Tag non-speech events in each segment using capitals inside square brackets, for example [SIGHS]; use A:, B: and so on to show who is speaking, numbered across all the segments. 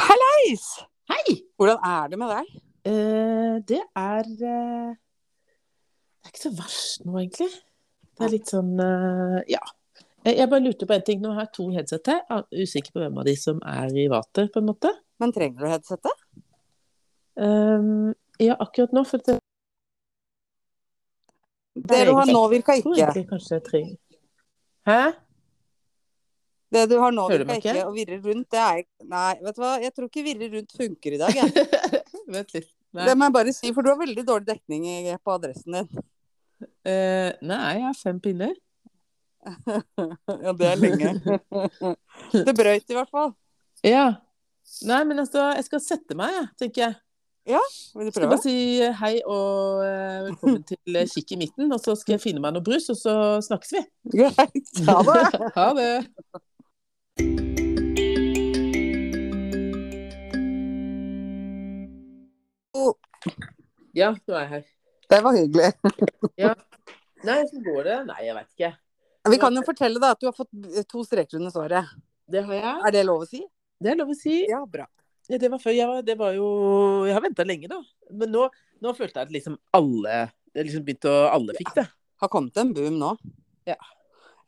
A: Hallais!
B: Hei!
A: Hvordan er det med deg?
B: Eh, det er eh, Det er ikke så verst nå, egentlig. Det er litt sånn eh, Ja. Eh, Jeg bare lurte på en ting. Nå har jeg to headset her. Jeg er Usikker på hvem av de som er i vater, på en måte.
A: Men trenger du headsetet?
B: Um, ja, akkurat nå, for det
A: Det du har nå virka ikke.
B: tror egentlig kanskje jeg trenger Hæ?
A: Det du har nå
B: Hører du
A: virka
B: meg
A: ikke,
B: ikke?
A: og virrer rundt, det er Nei, vet du hva, jeg tror ikke virrer rundt funker i dag, [LAUGHS] jeg.
B: [LAUGHS] Vent litt. Nei.
A: Det må jeg bare si, for du har veldig dårlig dekning i- på adressen din. [LAUGHS]
B: Eh, nei, jeg har fem pinner.
A: Ja, det er [LAUGHS] lenge. Det brøyt i hvert fall.
B: Ja. Nei, men altså, jeg skal sette meg, jeg, tenker jeg.
A: Vil du
B: Jeg skal
A: prøve?
B: bare si hei og eh, velkommen til eh, Kikk i midten. Og så skal jeg finne meg noe brus, og så snakkes vi.
A: Greit. Ha det.
B: Ha det.
A: Jo,
B: Ja, nå er jeg her.
A: [LAUGHS] Det var hyggelig.
B: Nei, hvordan går det? Nei, jeg veit ikke.
A: Vi kan jo fortelle da at du har fått to streker under svaret.
B: Det har jeg.
A: Er det lov å si?
B: Det er lov å si.
A: Ja, bra.
B: Ja, det var før. Jeg, var, det var jo Jeg har venta lenge, da. Men nå, nå følte jeg at liksom alle det liksom begynte å Alle fikk det.
A: Har kommet en boom nå.
B: Ja.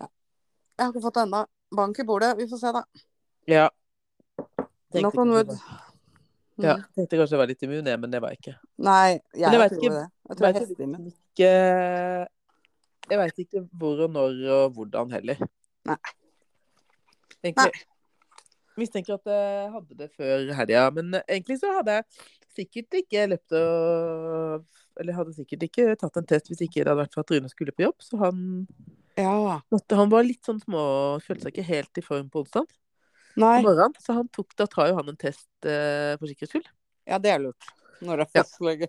A: Ja. Jeg har ikke fått det ennå. Bank i bordet, vi får se da.
B: Ja.
A: Knock on
B: kanskje
A: wood.
B: det var- Ja, tenkte kanskje jeg var litt immun, jeg, men det var jeg ikke.
A: Nei, jeg,
B: Men Mm. jeg vet
A: tror
B: ikke-
A: det. Jeg tror
B: vet ikke-
A: hestene mine.
B: Ikke Jeg veit ikke hvor og når og hvordan heller.
A: Nei.
B: Egentlig Mistenker at jeg hadde det før helga, men egentlig så hadde jeg sikkert ikke løpt og Eller hadde sikkert ikke tatt en test hvis ikke det hadde vært for at Rune skulle på jobb, så han
A: Ja.
B: måtte, Han var litt sånn små Følte seg ikke helt i form på onsdag. på
A: Nei.
B: morgenen, så han tok, da tar jo han en test eh, for sikkerhets skyld.
A: Ja, det er lurt. Når det er
B: Ja.
A: fastlege.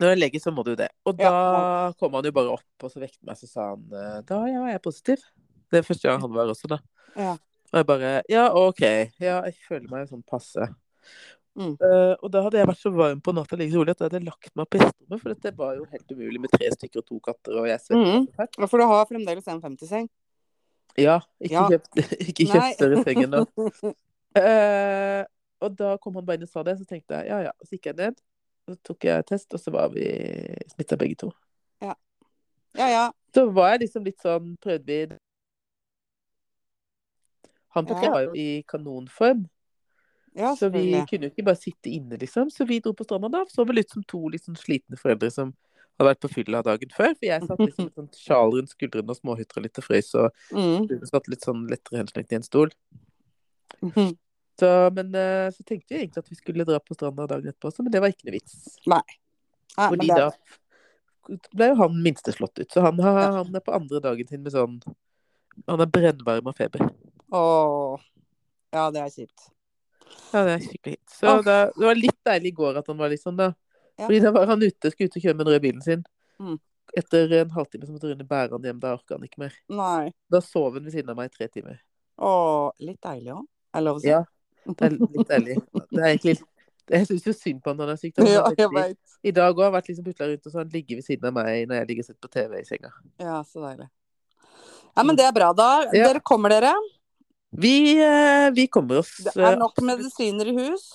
B: Når det er lege, så må du det. Og da
A: Ja.
B: kom han jo bare opp, og så vekte meg, så sa han eh, da ja, jeg er positiv. Det er første gang han var også, da.
A: Ja.
B: Og jeg bare ja, OK. Ja, jeg føler meg sånn passe.
A: Mm.
B: Eh, og da hadde jeg vært så varm på natta like rolig at jeg hadde lagt meg på gjesterommet, for det var jo helt umulig med tre stykker og to katter, og jeg svetter.
A: Mhm.
B: og sånt her.
A: Ja, For du har fremdeles en 50-seng.
B: Ja, ikke
A: Ja.
B: kjøpt, [LAUGHS] ikke
A: Nei.
B: kjøpt større seng ennå.
A: [LAUGHS]
B: Eh, og da kom han bare inn og sa det, så tenkte jeg ja ja. Så gikk jeg ned, og så tok jeg test, og så var vi smitta begge to.
A: Ja, ja.
B: Så var jeg liksom litt sånn Prøvde vi Han på
A: Ja.
B: tre var jo i kanonform,
A: ja
B: så vi
A: selvfølgelig.
B: kunne jo ikke bare sitte inne, liksom. Så vi dro på stranda da, så vel ut som to litt sånn slitne foreldre som hadde vært på fylla dagen før. For jeg satt liksom med sånn sjal rundt skuldrene og småhytter og litt og frøs, og
A: Mhm.
B: [LAUGHS] hun satt litt sånn lettere henslengt i en stol.
A: Mhm.
B: Så, men eh, så tenkte vi egentlig at vi skulle dra på stranda dagen etterpå også, men det var ikke noe vits.
A: Nei, men
B: Fordi
A: det er-
B: da ble jo han minste slått ut. Så han, har,
A: Ja.
B: han er på andre dagen sin med sånn Han er brennvarm av feber.
A: Åh. Ja, det er kjipt.
B: Ja, det er skikkelig hit. Så
A: Åh.
B: da, det var litt deilig i går at han var litt sånn, da.
A: Ja.
B: Fordi da var han ute, skulle ut og kjøre med den røde bilen sin.
A: Mm.
B: Etter en halvtime så måtte Rune bære han hjem. Da orka han ikke mer.
A: Nei.
B: Da sov han ved siden av meg i tre timer.
A: Åh. Litt deilig òg. Er det lov å si? [LAUGHS]
B: Ja. Det er litt deilig. Det er egentlig Jeg syns jo synd på han når han er syk. da. Han
A: Ja,
B: har
A: jeg
B: veldig-
A: veit.
B: I dag òg har han vært liksom putla rundt, og så har han ligget ved siden av meg når jeg ligger og ser på TV i senga.
A: Ja, så deilig. Ja, men det er bra, da.
B: Ja.
A: Dere kommer dere.
B: Vi, eh, vi kommer oss
A: Det
B: eh,
A: er nok medisiner i hus.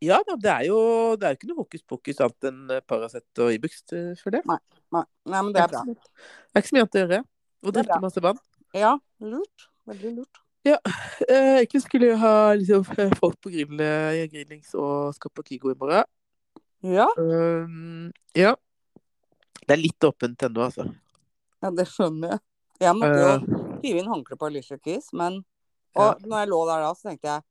B: Ja da, det er jo det er jo ikke noe hokus pokus annet enn eh, Paracet og Ibux eh, for det.
A: Nei, nei, men det er bra.
B: Det er ikke så mye annet å gjøre.
A: Det
B: Og
A: er bra.
B: drikke masse vann.
A: Ja, lurt. Veldig lurt.
B: Eh, Egentlig skulle jeg ha liksom, [LAUGHS] eh, folk på grillene, grillings og skal på Kygo i morgen.
A: Ja,
B: Um, ja. Det er litt åpent ennå, altså.
A: ja det skjønner jeg. Jeg måtte jo
B: Eh,
A: hive inn håndkle på Alicia Keys, men
B: Ja.
A: Og når jeg lå der da, så tenkte jeg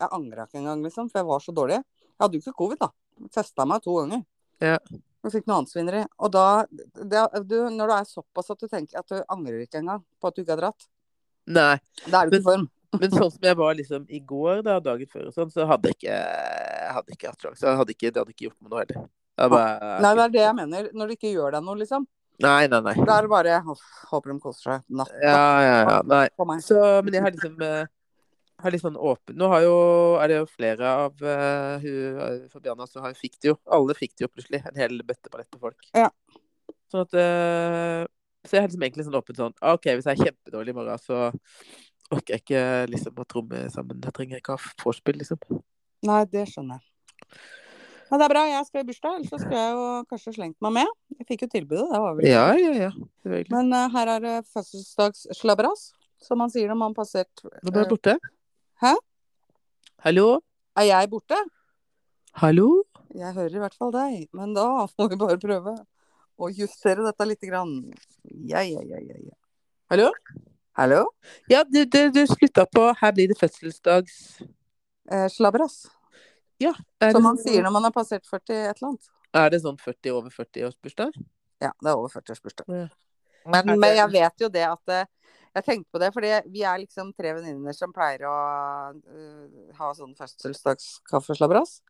A: Jeg angra ikke engang, liksom, for jeg var så dårlig. Jeg hadde jo ikke covid, da. Testa meg to ganger.
B: Ja.
A: Og fikk noe annet svineri. Og da det, du, Når du er såpass at du tenker at du angrer ikke engang på at du ikke har dratt,
B: nei.
A: da er du ikke i form.
B: Men sånn som jeg var liksom i går, da, dagen før og sånn, så hadde jeg ikke, jeg hadde ikke hatt sjanse. Jeg Hadde ikke, det hadde ikke gjort meg noe heller. Jeg bare,
A: Nei, det er det jeg mener. Når du ikke gjør deg noe, liksom.
B: nei, nei, nei.
A: Da er det bare «Uff, Håper de koser seg. Natt
B: Ja, ja, ja. Nei.
A: på meg.
B: Så, men jeg har liksom eh, har litt sånn åpen Nå har jo, er det jo flere av eh, hun, eh, Fabiana som har- fikk det jo. Alle fikk det jo plutselig. En hel bøttepalett med folk.
A: Ja.
B: Sånn at eh, Så jeg har liksom egentlig sånn åpen sånn OK, hvis jeg er kjempedårlig i morgen, så orker jeg ikke liksom å tromme sammen. Jeg trenger ikke ha vorspiel, liksom.
A: Nei, det skjønner jeg. Men det er bra, jeg skal i bursdag, ellers så skulle jeg jo kanskje slengt meg med. Jeg fikk jo tilbudet, det var vel
B: Ja, ja, ja. Selvfølgelig.
A: Men eh, her er det fødselsdagsslabberas, som man sier når man passert
B: Nå ble jeg borte.
A: eh, Hæ?
B: Hallo?
A: Er jeg borte?
B: Hallo?
A: Jeg hører i hvert fall deg, men da må vi bare prøve å justere dette lite grann. Ja, ja, ja, ja, ja.
B: Hallo?
A: Hallo?
B: Ja, du, du, du slutta på 'her blir det fødselsdags'.
A: Eh, slabberas,
B: Er det,
A: som man
B: sånn-
A: sier når man har passert 40 et eller annet.
B: er det sånn 40 over 40-årsbursdag?
A: Ja, det er over 40-årsbursdag.
B: Ja.
A: Men,
B: Er det-
A: men jeg vet jo det at eh, Jeg tenkte på det, fordi vi er liksom tre venninner som pleier å eh, ha sånn fødselsdagskaffeslabberas.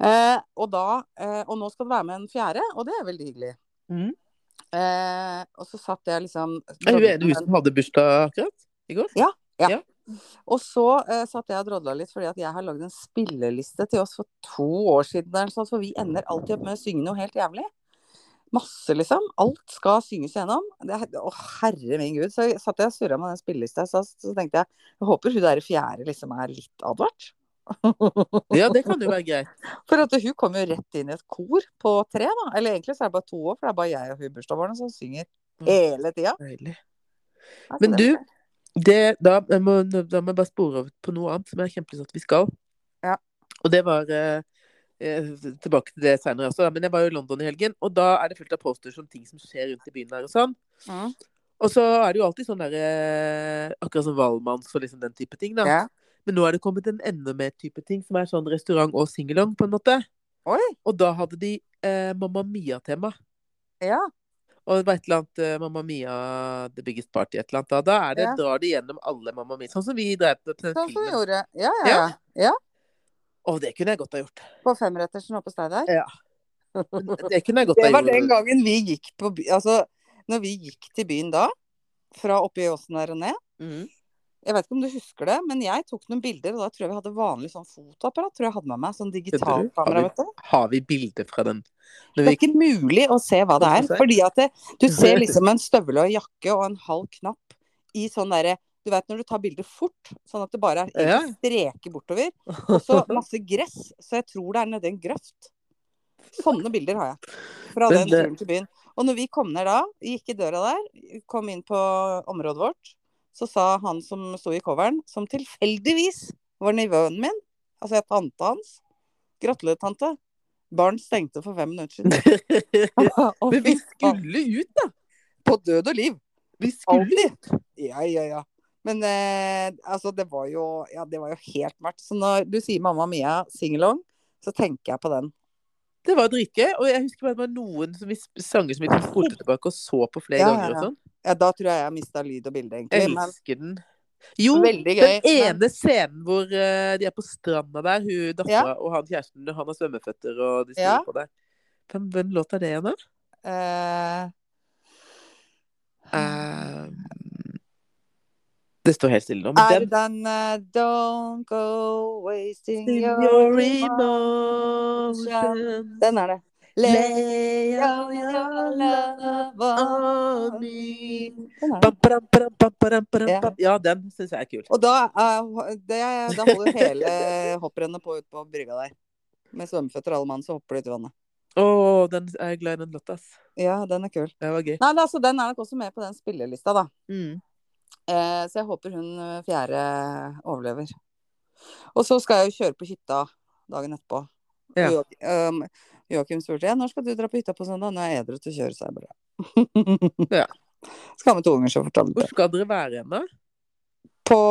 A: Eh, og da eh, Og nå skal det være med en fjerde, og det er veldig hyggelig.
B: Mhm.
A: Eh, og så satt jeg liksom
B: Er hun ene hun som hadde bursdag akkurat? I går?
A: Og så eh, satt jeg og drodla litt, fordi at jeg har lagd en spilleliste til oss for to år siden. Eller sånn, for vi ender alltid opp med å synge noe helt jævlig. Masse, liksom. Alt skal synges gjennom. Det, er- å, herre min gud. Så jeg satt jeg og surra med den spillelista, så, så tenkte jeg jeg håper hun der fjerde liksom er litt advart. [LAUGHS]
B: Ja, det kan jo være greit.
A: For at hun kom jo rett inn i et kor på tre, da. Eller egentlig så er det bare to år, for det er bare jeg og hun i bursdagsbarnet som synger hele tida.
B: Deilig.
A: Er ikke
B: Mm. Men
A: det
B: du,
A: fint?
B: Det, da, jeg må, da må jeg bare spore over på noe annet som jeg har kjempelyst til at vi skal.
A: Ja.
B: Og det var eh, eh, Tilbake til det seinere også, da, men jeg var jo i London i helgen, og da er det fullt av posters om ting som skjer rundt i byen der og sånn.
A: Mm.
B: Og så er det jo alltid sånn derre Akkurat som Valmanns og liksom den type ting, da.
A: Ja.
B: Men nå er det kommet en enda mer type ting, som er sånn restaurant og singalong, på en måte.
A: Oi.
B: Og da hadde de eh, Mamma Mia-tema.
A: Ja.
B: Og det var et eller annet eh, Mamma Mia The Biggest Party, et eller annet. Da, da er det,
A: Ja.
B: drar de gjennom alle Mamma Mia. Sånn som vi drev på den
A: Sånn som vi
B: filmen.
A: gjorde. Ja, ja,
B: Ja.
A: ja. ja.
B: Å, det kunne jeg godt
A: [LAUGHS]
B: ha gjort.
A: På femrettersen oppe hos deg der?
B: Ja. Det kunne jeg godt
A: Det
B: ha
A: var
B: gjort.
A: den gangen vi gikk på by... Altså, når vi gikk til byen da, fra oppi åsen der og ned
B: Mhm.
A: Jeg vet ikke om du husker det, men jeg tok noen bilder, og da tror jeg vi hadde vanlig sånn fotoapparat. Tror jeg hadde med meg sånn
B: Kødder du? Har
A: digitalkamera,
B: vi-
A: vet du.
B: Har vi bilder fra den? Når
A: Det
B: vi
A: er ikke mulig å se hva det er. Fordi at det, du ser liksom en støvle og en jakke og en halv knapp i sånn derre Du vet når du tar bilder fort, sånn at det bare er
B: Ja.
A: egentlig streker bortover. Og
B: [LAUGHS]
A: så masse gress, så jeg tror det er nede i en grøft. Sånne bilder har jeg fra
B: Men
A: den
B: det-
A: turen til byen. Og når vi kom ned da, gikk i døra der, kom inn på området vårt, så sa han som sto i coveren, som tilfeldigvis var nivåen min, altså jeg tante hans Gratulerer, tante. Barn stengte for fem minutter
B: [LAUGHS]
A: siden. Og
B: Men vi
A: fy faen,
B: skulle ut, da!
A: på død og liv.
B: Vi skulle ut.
A: Alltid. Ja, ja, ja. Men eh, altså, det var jo Ja, det var jo helt mørkt. Så når du sier 'Mamma Mia singalong', så tenker jeg på den.
B: Det var dritgøy. Og jeg husker bare det var noen som vi sp- sanger som vi
A: [LAUGHS]
B: spolte tilbake og så på flere
A: Ja, ja,
B: ganger og
A: ja.
B: sånn.
A: Ja, da tror jeg jeg mista lyd og bilde, egentlig. Men
B: Elsker den. Jo,
A: veldig gøy.
B: Den ene scenen hvor eh, de er på stranda der, hun dattera og han kjæresten, han har svømmeføtter og de står
A: Ja.
B: på der. Hvem, hvem låt er det igjen, da?
A: Men, eh,
B: Eh, det står helt stille nå,
A: er
B: men
A: det
B: den
A: den eh, 'Don't go wasting your
B: Your
A: emo'?
B: emotions
A: Den er det. Lay
B: Lay
A: your love
B: on
A: on me.
B: me
A: Den er det.
B: Bam, bam, bam, bam, bam, bam,
A: Ja.
B: bam. Ja, den syns jeg er kul.
A: Og da, eh, det, da holder hele hopprennet på ut på brygga der. Med svømmeføtter og alle mann, så hopper du ut i vannet.
B: Å, den er jeg glad i den låta, ass.
A: Ja, den er kul.
B: Det var gøy.
A: Nei, men altså, den er nok også med på den spillelista, da.
B: Mm.
A: Eh, så jeg håper hun eh, fjerde overlever. Og så skal jeg jo kjøre på hytta dagen etterpå.
B: Ja.
A: Og Joakim, ehm, Joakim spurte jeg, når skal du dra på hytta på søndag. Nå er jeg edru til å kjøre, sa jeg bare. [LAUGHS]
B: Ja.
A: Skal ha med to unger, så fortalte
B: Hvor
A: jeg.
B: skal dere være hen, da?
A: På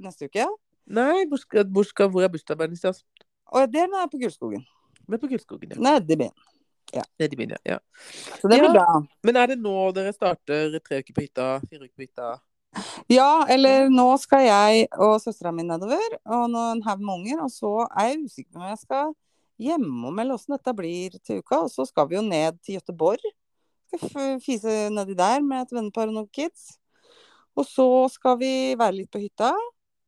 A: neste uke?
B: Nei, hvor, skal, hvor, skal, hvor er bursdagsbarnet ditt?
A: Og det er på Gullskogen.
B: Men på Gullskogen, ja.
A: Nede i byen.
B: Nede i byen, ja. ja.
A: Så det blir
B: Ja.
A: bra.
B: Men er det nå dere starter tre uker på hytta, fire uker på hytta?
A: Ja, eller nå skal jeg og søstera mi nedover, og nå en haug med unger. Og så er jeg usikker på om jeg skal hjemom, eller åssen dette blir til uka. Og så skal vi jo ned til Gøteborg. Skal f- fise nedi der med et vennepar og noen kids. Og så skal vi være litt på hytta.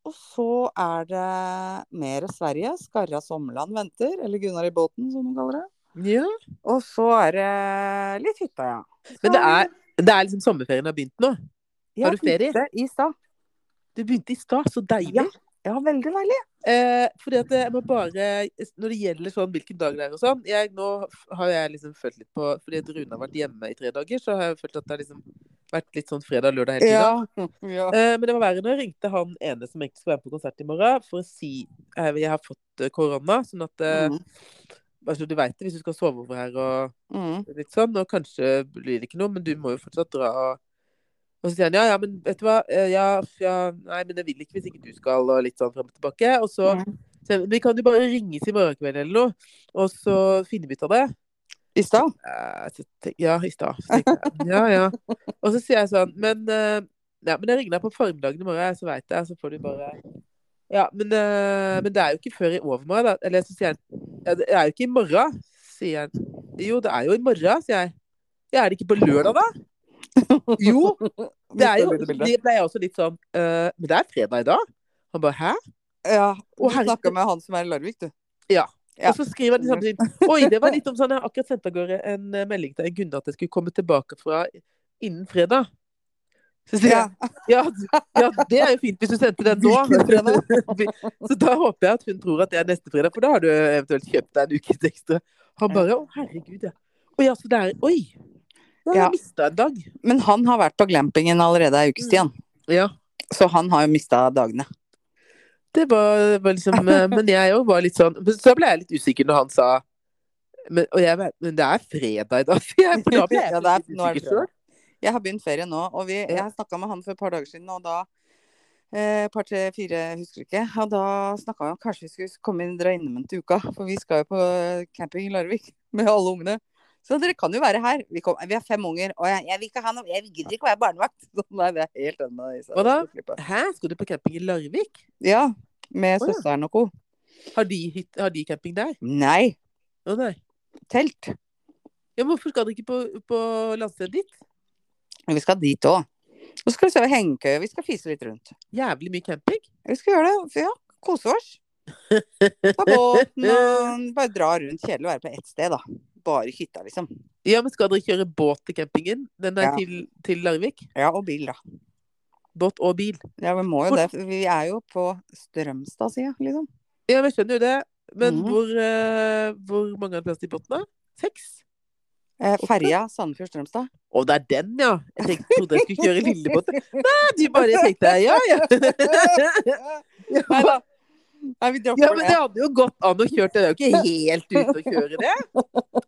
A: Og så er det mer Sverige. Skarra Sommerland venter, eller Gunnar i båten, som de kaller det.
B: Ja.
A: Og så er det litt hytta, ja.
B: Men det er, det er liksom sommerferien har begynt nå.
A: Ja,
B: har du ferie?
A: hytte I stad.
B: Du begynte i stad, så deilig.
A: Ja. Ja, veldig deilig.
B: Eh, fordi at jeg må bare Når det gjelder sånn hvilken dag det er og sånn jeg, Nå har jeg liksom følt litt på Fordi at Rune har vært hjemme i tre dager, så har jeg følt at det har liksom vært litt sånn fredag, lørdag hele tida.
A: ja. [LAUGHS]
B: Eh, men det var verre når jeg ringte han ene som egentlig skulle være med på konsert i morgen, for å si eh, jeg har fått eh, korona. Sånn at eh,
A: Mm.
B: altså, Du veit det hvis du skal sove over her og
A: Mm.
B: litt sånn, og kanskje blir det ikke noe, men du må jo fortsatt dra og og så sier han ja, ja, men vet du hva, eh, ja, f- ja, nei, men jeg vil ikke hvis ikke du skal, og litt sånn fram og tilbake. Og så
A: Mm.
B: sier han, vi kan jo bare ringes i morgen kveld eller noe, og så finner vi ut av det.
A: I [LAUGHS] stad?
B: Eh, så tenk- Ja, i stad. så tenkte jeg, Ja, ja. Og så sier jeg sånn, men, eh, ja, men jeg ringer deg på formiddagen i morgen, så veit jeg, så får du bare Ja, men, eh, men det er jo ikke før i overmorgen, da. Eller så sier han ja, Det er jo ikke i morgen, sier han. Jo, det er jo i morgen, sier jeg. Ja, er det ikke på lørdag, da?
A: [LAUGHS]
B: Jo, det er jo Det ble jeg også litt sånn eh, Men det er fredag i dag. Han bare hæ?
A: Ja.
B: Å,
A: Du
B: herregud.
A: snakker med han som er i Larvik, du. Ja.
B: Og så skriver han i samme tid Oi, det var litt om sånn Jeg har akkurat sendt av gårde en eh, melding til en kunde at jeg skulle komme tilbake fra innen fredag. Så sier
A: Ja.
B: jeg ja, d- ja, det er jo fint hvis du sendte den nå.
A: Hvilken
B: [LAUGHS] så da håper jeg at hun tror at det er neste fredag, for da har du eventuelt kjøpt deg en uke ekstra. Han bare Å, herregud, ja. Oi, altså, det er Oi! Da har
A: Ja.
B: jeg mista en dag.
A: Men han har vært på glampingen allerede ei uke, Stian.
B: Ja.
A: Så han har jo mista dagene.
B: Det var, var liksom
A: [LAUGHS]
B: eh, Men jeg òg var litt sånn Men så ble jeg litt usikker når han sa men, og jeg, vet- men det er fredag i dag, for
A: [LAUGHS]
B: jeg, for da ble jeg
A: Ja, det er-
B: litt
A: nå er det
B: usikker selv.
A: Jeg har begynt ferie nå, og vi, jeg snakka med han for et par dager siden, og da Eh, par, tre, fire, jeg husker ikke. Og da snakka vi om kanskje vi skulle komme inn dra innom en til uka. For vi skal jo på eh, camping i Larvik [LAUGHS] med alle ungene. Så dere kan jo være her. Vi, kom, vi har fem unger, og jeg, jeg vil ikke ha noe Jeg gidder ikke å være barnevakt. [LAUGHS] Så Nei, det er helt enig med deg. Isa.
B: Hva da? Hæ, skal du på camping i Larvik?
A: Ja. Med
B: Å, ja.
A: søsteren og co.
B: Har de, hytt- har de camping der?
A: Nei.
B: Å nei.
A: Telt.
B: Ja, men hvorfor skal dere ikke på, på landstedet ditt?
A: Vi skal dit òg. Og så skal vi se ved hengekøya. Vi skal fise litt rundt.
B: Jævlig mye camping.
A: Vi skal gjøre det. for Ja, kose oss. Ta båten
B: [LAUGHS]
A: og bare dra rundt. Kjedelig å være på ett sted, da. Bare hytta, liksom.
B: Ja, men skal dere kjøre båt til campingen? Den er
A: Ja.
B: til, til Larvik?
A: Ja, og bil, da.
B: Båt og bil.
A: Ja, vi må jo
B: Hvor-
A: det. for Vi er jo på Strømstad-sida, liksom.
B: Ja, men jeg skjønner jo det. Men
A: Mhm.
B: hvor, eh, hvor mange har plass til båten, da? Seks?
A: Eh, ferja Sandefjord-Strømstad.
B: Å, det er den, ja! Jeg tenkte, trodde jeg skulle kjøre lillebåt. Nei, du bare
A: [LAUGHS]
B: tenkte jeg, ja, [LAUGHS] ja.
A: Nei da. Nei, vi dropper
B: Ja, men det
A: det.
B: hadde jo gått an å kjøre det. Det er jo ikke helt ute å kjøre det.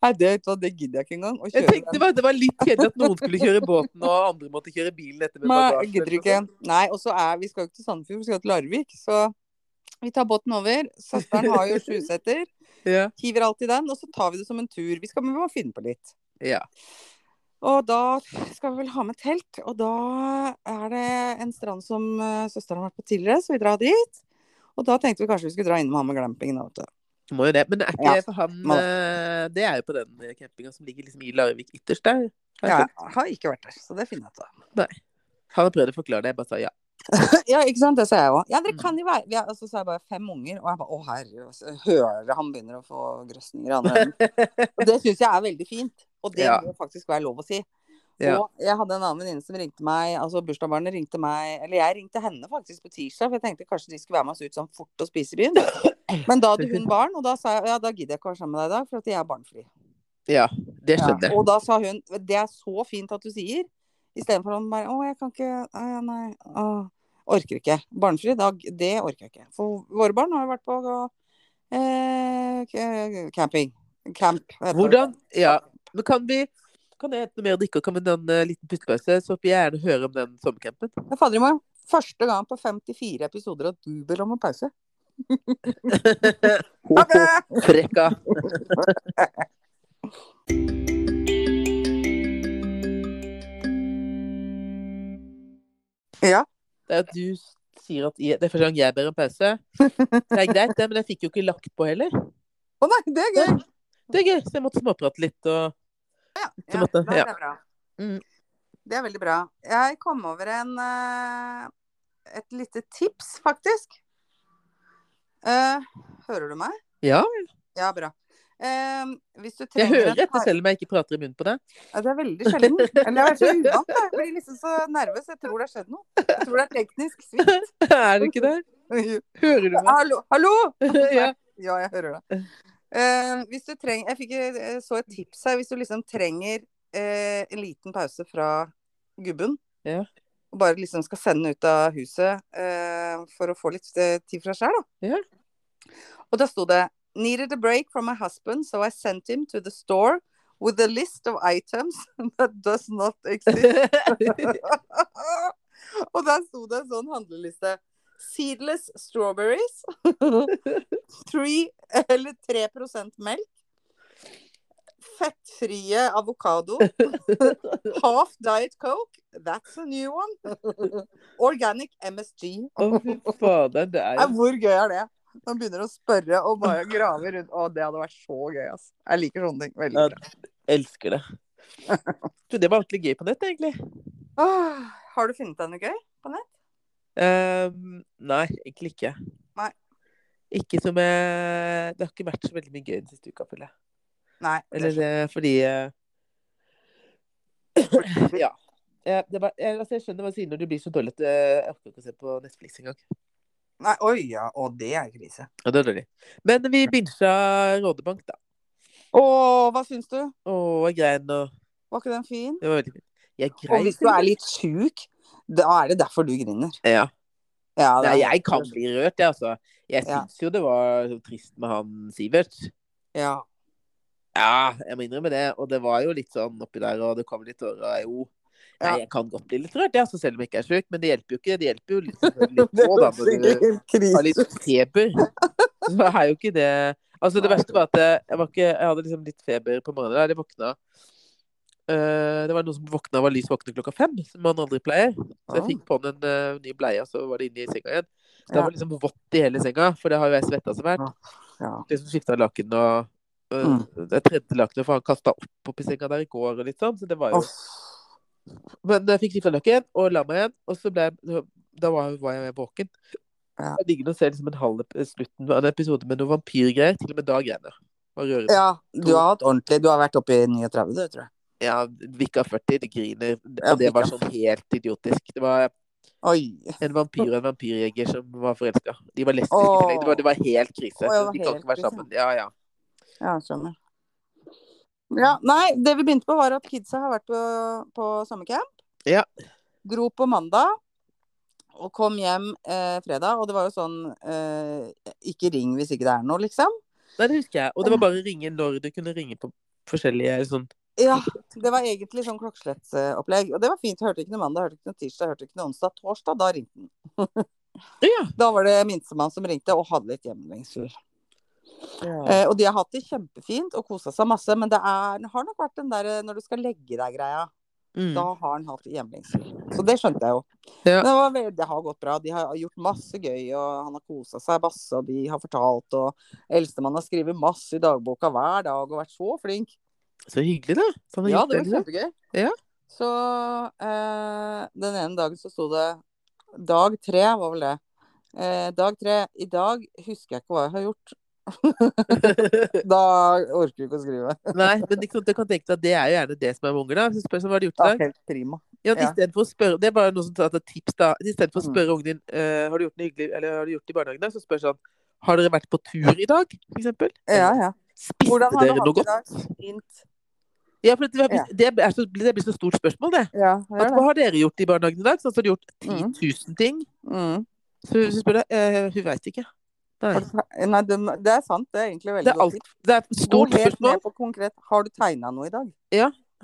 A: Nei, det, vet du hva, det gidder jeg ikke engang. Å
B: Jeg
A: kjøre
B: tenkte bare, Det var litt kjedelig at noen skulle kjøre båten, og andre måtte kjøre bilen etter med
A: Nei,
B: bagasje.
A: jeg gidder ikke. Nei, og så er Vi skal jo ikke til Sandefjord, vi skal til Larvik. Så vi tar båten over. Søsteren
B: [LAUGHS]
A: har jo sjuseter.
B: Ja.
A: Hiver alltid den, og så tar vi det som en tur. Vi skal, men vi må finne på litt.
B: Ja.
A: Og da skal vi vel ha med telt, og da er det en strand som eh, søsteren har vært på tidligere, så vi drar dit. Og da tenkte vi kanskje vi skulle dra innom han med glampingen. da, vet du.
B: Må jo det. Men er ikke
A: Ja,
B: for han
A: må det.
B: eh, Det er jo på den campinga som ligger liksom i Larvik ytterst der. Har jeg
A: Jeg
B: skjønt.
A: har ikke vært der, så det finner jeg ut av.
B: Han har prøvd å forklare det, jeg bare sa ja.
A: Ja, ikke sant, det sa jeg òg. Ja, dere
B: Mm.
A: kan jo være vi er, Og så sa jeg bare fem unger, og jeg bare å herre, og så hører jeg han begynner å få grøsninger i andre enden. Og det syns jeg er veldig fint, og det
B: Ja.
A: må faktisk være lov å si.
B: Ja.
A: Og jeg hadde en annen venninne som ringte meg, altså bursdagsbarnet ringte meg, eller jeg ringte henne faktisk på tirsdag, for jeg tenkte kanskje de skulle være med oss ut sånn fort og spise i byen. Men da hadde hun barn, og da sa jeg ja, da gidder jeg ikke å være sammen med deg i dag, for at jeg er barnefri.
B: ja. Det
A: Ja.
B: skjønner jeg.
A: Og da sa hun det er så fint at du sier, istedenfor at hun bare å, jeg kan ikke, nei, nei, å, orker ikke. Barnefri, da, det orker jeg ikke. For våre barn har jo vært på eh, k- camping. Camp. heter det.
B: Hvordan Ja. Men kan vi kan jeg hente noe mer å drikke og komme med en eh, liten pustepause, så får jeg gjerne høre om den sommercampen?
A: Ja, Fader i morgen. Første gang på 54 episoder at du ber om en
B: [LAUGHS]
A: pause. Ha det!
B: Frekka.
A: Ja.
B: Det er at du sier at jeg, Det er første gang jeg ber om [LAUGHS] pause. Det er greit, det, men jeg fikk jo ikke lagt på heller.
A: Å nei, det er gøy!
B: Det er gøy, så jeg måtte småprate litt og Så
A: Ja,
B: måtte-
A: nei,
B: ja.
A: det er bra.
B: Mm.
A: Det er veldig bra. Jeg kom over en eh, et lite tips, faktisk. Eh, hører du meg?
B: Ja.
A: Ja, bra. Eh, hvis du
B: Jeg
A: trenger
B: hører
A: en
B: etter
A: har-
B: selv om jeg ikke prater i munnen på deg. [LAUGHS]
A: Ja, det er veldig sjelden. Eller jeg er så uvant. da. Jeg blir liksom så nervøs. Jeg tror det har skjedd noe. Jeg tror det er teknisk svikt.
B: Er det ikke det? [LAUGHS] Hører du meg?
A: Hallo! Hallo!
B: Ja.
A: Ja, jeg hører det. Eh, hvis du trenger Jeg fikk eh, så et tips her. Hvis du liksom trenger eh, en liten pause fra gubben,
B: Ja.
A: og bare liksom skal sende den ut av huset eh, for å få litt eh, tid fra seg, da.
B: Ja.
A: Og da sto det Needed a break from my husband, so I sent him to the store with a list of items [LAUGHS] that does not exist. [LAUGHS] og der sto det en sånn handleliste. Seedless [LAUGHS] strawberries. Three, eller 3 melk. Fettfrie [LAUGHS] avokado. Half diet coke. That's a new one. Organic MSG.
B: [LAUGHS] Å, fy fader. Det er
A: Nei, hvor gøy er det? Når man begynner å spørre og bare grave rundt. Å, det hadde vært så gøy, ass. Jeg liker sånne ting veldig.
B: Ja. Jeg elsker det. Du, det var ordentlig gøy på nett, egentlig.
A: Åh, Ah, har du funnet deg noe gøy?
B: Ehm, nei, egentlig ikke.
A: Nei.
B: Ikke som jeg Det har ikke vært så veldig mye gøy den siste uka, føler jeg.
A: Nei. det
B: Eller eh, fordi eh, [CLEARS THROAT] Ja. Eh, Det var, jeg, altså, jeg skjønner hva du sier når du blir så dårlig at eh, jeg orker ikke å se på Netflix engang.
A: Nei, oi ja, og det er krise.
B: Ja, det er dårlig. Men vi bincha Rådebank, da.
A: Å, hva syns du?
B: Å, jeg grein og
A: Var ikke den fin?
B: Det var veldig fint. Jeg
A: Og
B: grein.
A: hvis du er litt sjuk, da er det derfor du griner.
B: Ja.
A: Ja, det
B: Nei,
A: er-
B: jeg kan bli rørt, jeg, altså. Jeg
A: Ja.
B: syns jo det var trist med han Sivert.
A: Ja.
B: Ja, jeg må innrømme det. Og det var jo litt sånn oppi der, og det kom litt tårer. og Jo. Nei,
A: Ja.
B: jeg kan godt bli litt rørt, jeg, altså, selv om jeg ikke er sjuk. Men det hjelper jo ikke. Det hjelper jo
A: [LAUGHS]
B: litt, litt på, da, når du har litt feber. Så er jo ikke det Altså, det verste var at jeg, jeg, var ikke, jeg hadde liksom litt feber på morgenen. Eller jeg våkna Eh, Det var noen som våkna og var lys våkne klokka fem, som man aldri pleier. Så jeg fikk på den en eh, ny bleie, og så var det inne i senga igjen. Så da
A: Ah. Ja.
B: var det liksom vått i hele senga, for det har jo jeg svetta så fælt.
A: Ja. Mm.
B: Liksom skifta laken og øh, Jeg tredde lakenet, for han kasta opp oppi senga der i går og litt sånn. Så det var jo
A: Uff.
B: Men jeg fikk skifta laken og la meg igjen, og så ble jeg Da var, var jeg våken.
A: Ja.
B: Jeg ligger og ser liksom en halv ep- slutten av en episode med noen vampyrgreier. Til og med da grein jeg. Det var rørende.
A: ja. Du har hatt ordentlig Du har vært oppe i 39, du, tror jeg.
B: Ja, Vikka 40, det griner.
A: Ja,
B: Og det var
A: Vikka.
B: sånn helt idiotisk. Det var
A: Oi.
B: en vampyr og en vampyrjeger som var forelska. De var lesbiske.
A: Åh.
B: i tillegg. Det, var- det var helt krise.
A: Åh, ja, det var
B: de kan
A: helt
B: ikke være
A: krise.
B: sammen. Ja, ja.
A: Ja, jeg skjønner. Ja, nei, det vi begynte på var at kidsa har vært på, på sommercamp.
B: Ja.
A: Dro på mandag og kom hjem eh, fredag, og det var jo sånn eh, Ikke ring hvis ikke det er noe, liksom.
B: Nei, det husker jeg. Og det var bare å ringe når du kunne ringe på forskjellige sånn
A: Ja, det var egentlig sånn klokkeslettopplegg. Og det var fint. Hørte ikke noe mandag, hørte ikke noe tirsdag, hørte ikke noe onsdag. Torsdag, da ringte den.
B: Ja.
A: Da var det minstemann som ringte og hadde litt hjemlengsel. Eh, og de har hatt det kjempefint og kosa seg masse, men det er, har nok vært den der eh, når du skal legge deg-greia.
B: Mm.
A: Da har han hatt hjemlengsel. Så det skjønte jeg jo.
B: Ja.
A: Men Det, var veldig, det har gått bra. De har gjort masse gøy, og han har kosa seg masse, og de har fortalt, og eldstemann har skrevet masse i dagboka hver dag og vært så flink.
B: Så hyggelig, da. Sånn
A: Ja,
B: gikk
A: det var
B: liksom.
A: kjempegøy.
B: Ja.
A: Så eh, den ene dagen så sto det Dag tre var vel det. Eh, dag tre. I dag husker jeg ikke hva jeg har
B: [LAUGHS]
A: gjort. Da orker vi ikke å skrive.
B: Nei, men ikke sant, du kan tenke deg at det er jo gjerne det som er med unger, da. Så spør jeg hva har du gjort i
A: Ja,
B: dag?
A: helt prima.
B: Ja,
A: ja. Mm.
B: istedenfor å spørre Det er bare noe som tar et tips, da. Istedenfor å spørre ungen din eh, har du gjort noe hyggelig, eller har du gjort det i barnehagen, da, så spør sånn Har dere vært på tur i dag, for eksempel?
A: Ja, ja.
B: Spiste
A: Hvordan har du
B: dere noe
A: hatt det i
B: godt?
A: Fint.
B: Ja, for det, det, det, er så, det blir så stort spørsmål, det.
A: Ja, det
B: At,
A: er det.
B: hva har dere gjort i barnehagen i dag? Sånn så har du gjort
A: Mm.
B: 10 000 ting.
A: Mm.
B: Så hvis du spør deg eh, Hun veit ikke. Nei.
A: Har du te- Nei, det, det er sant. Det er egentlig veldig
B: Det er,
A: godt.
B: alt, det er et stort
A: Gå helt
B: spørsmål.
A: ned på konkret. Har du tegna noe i dag?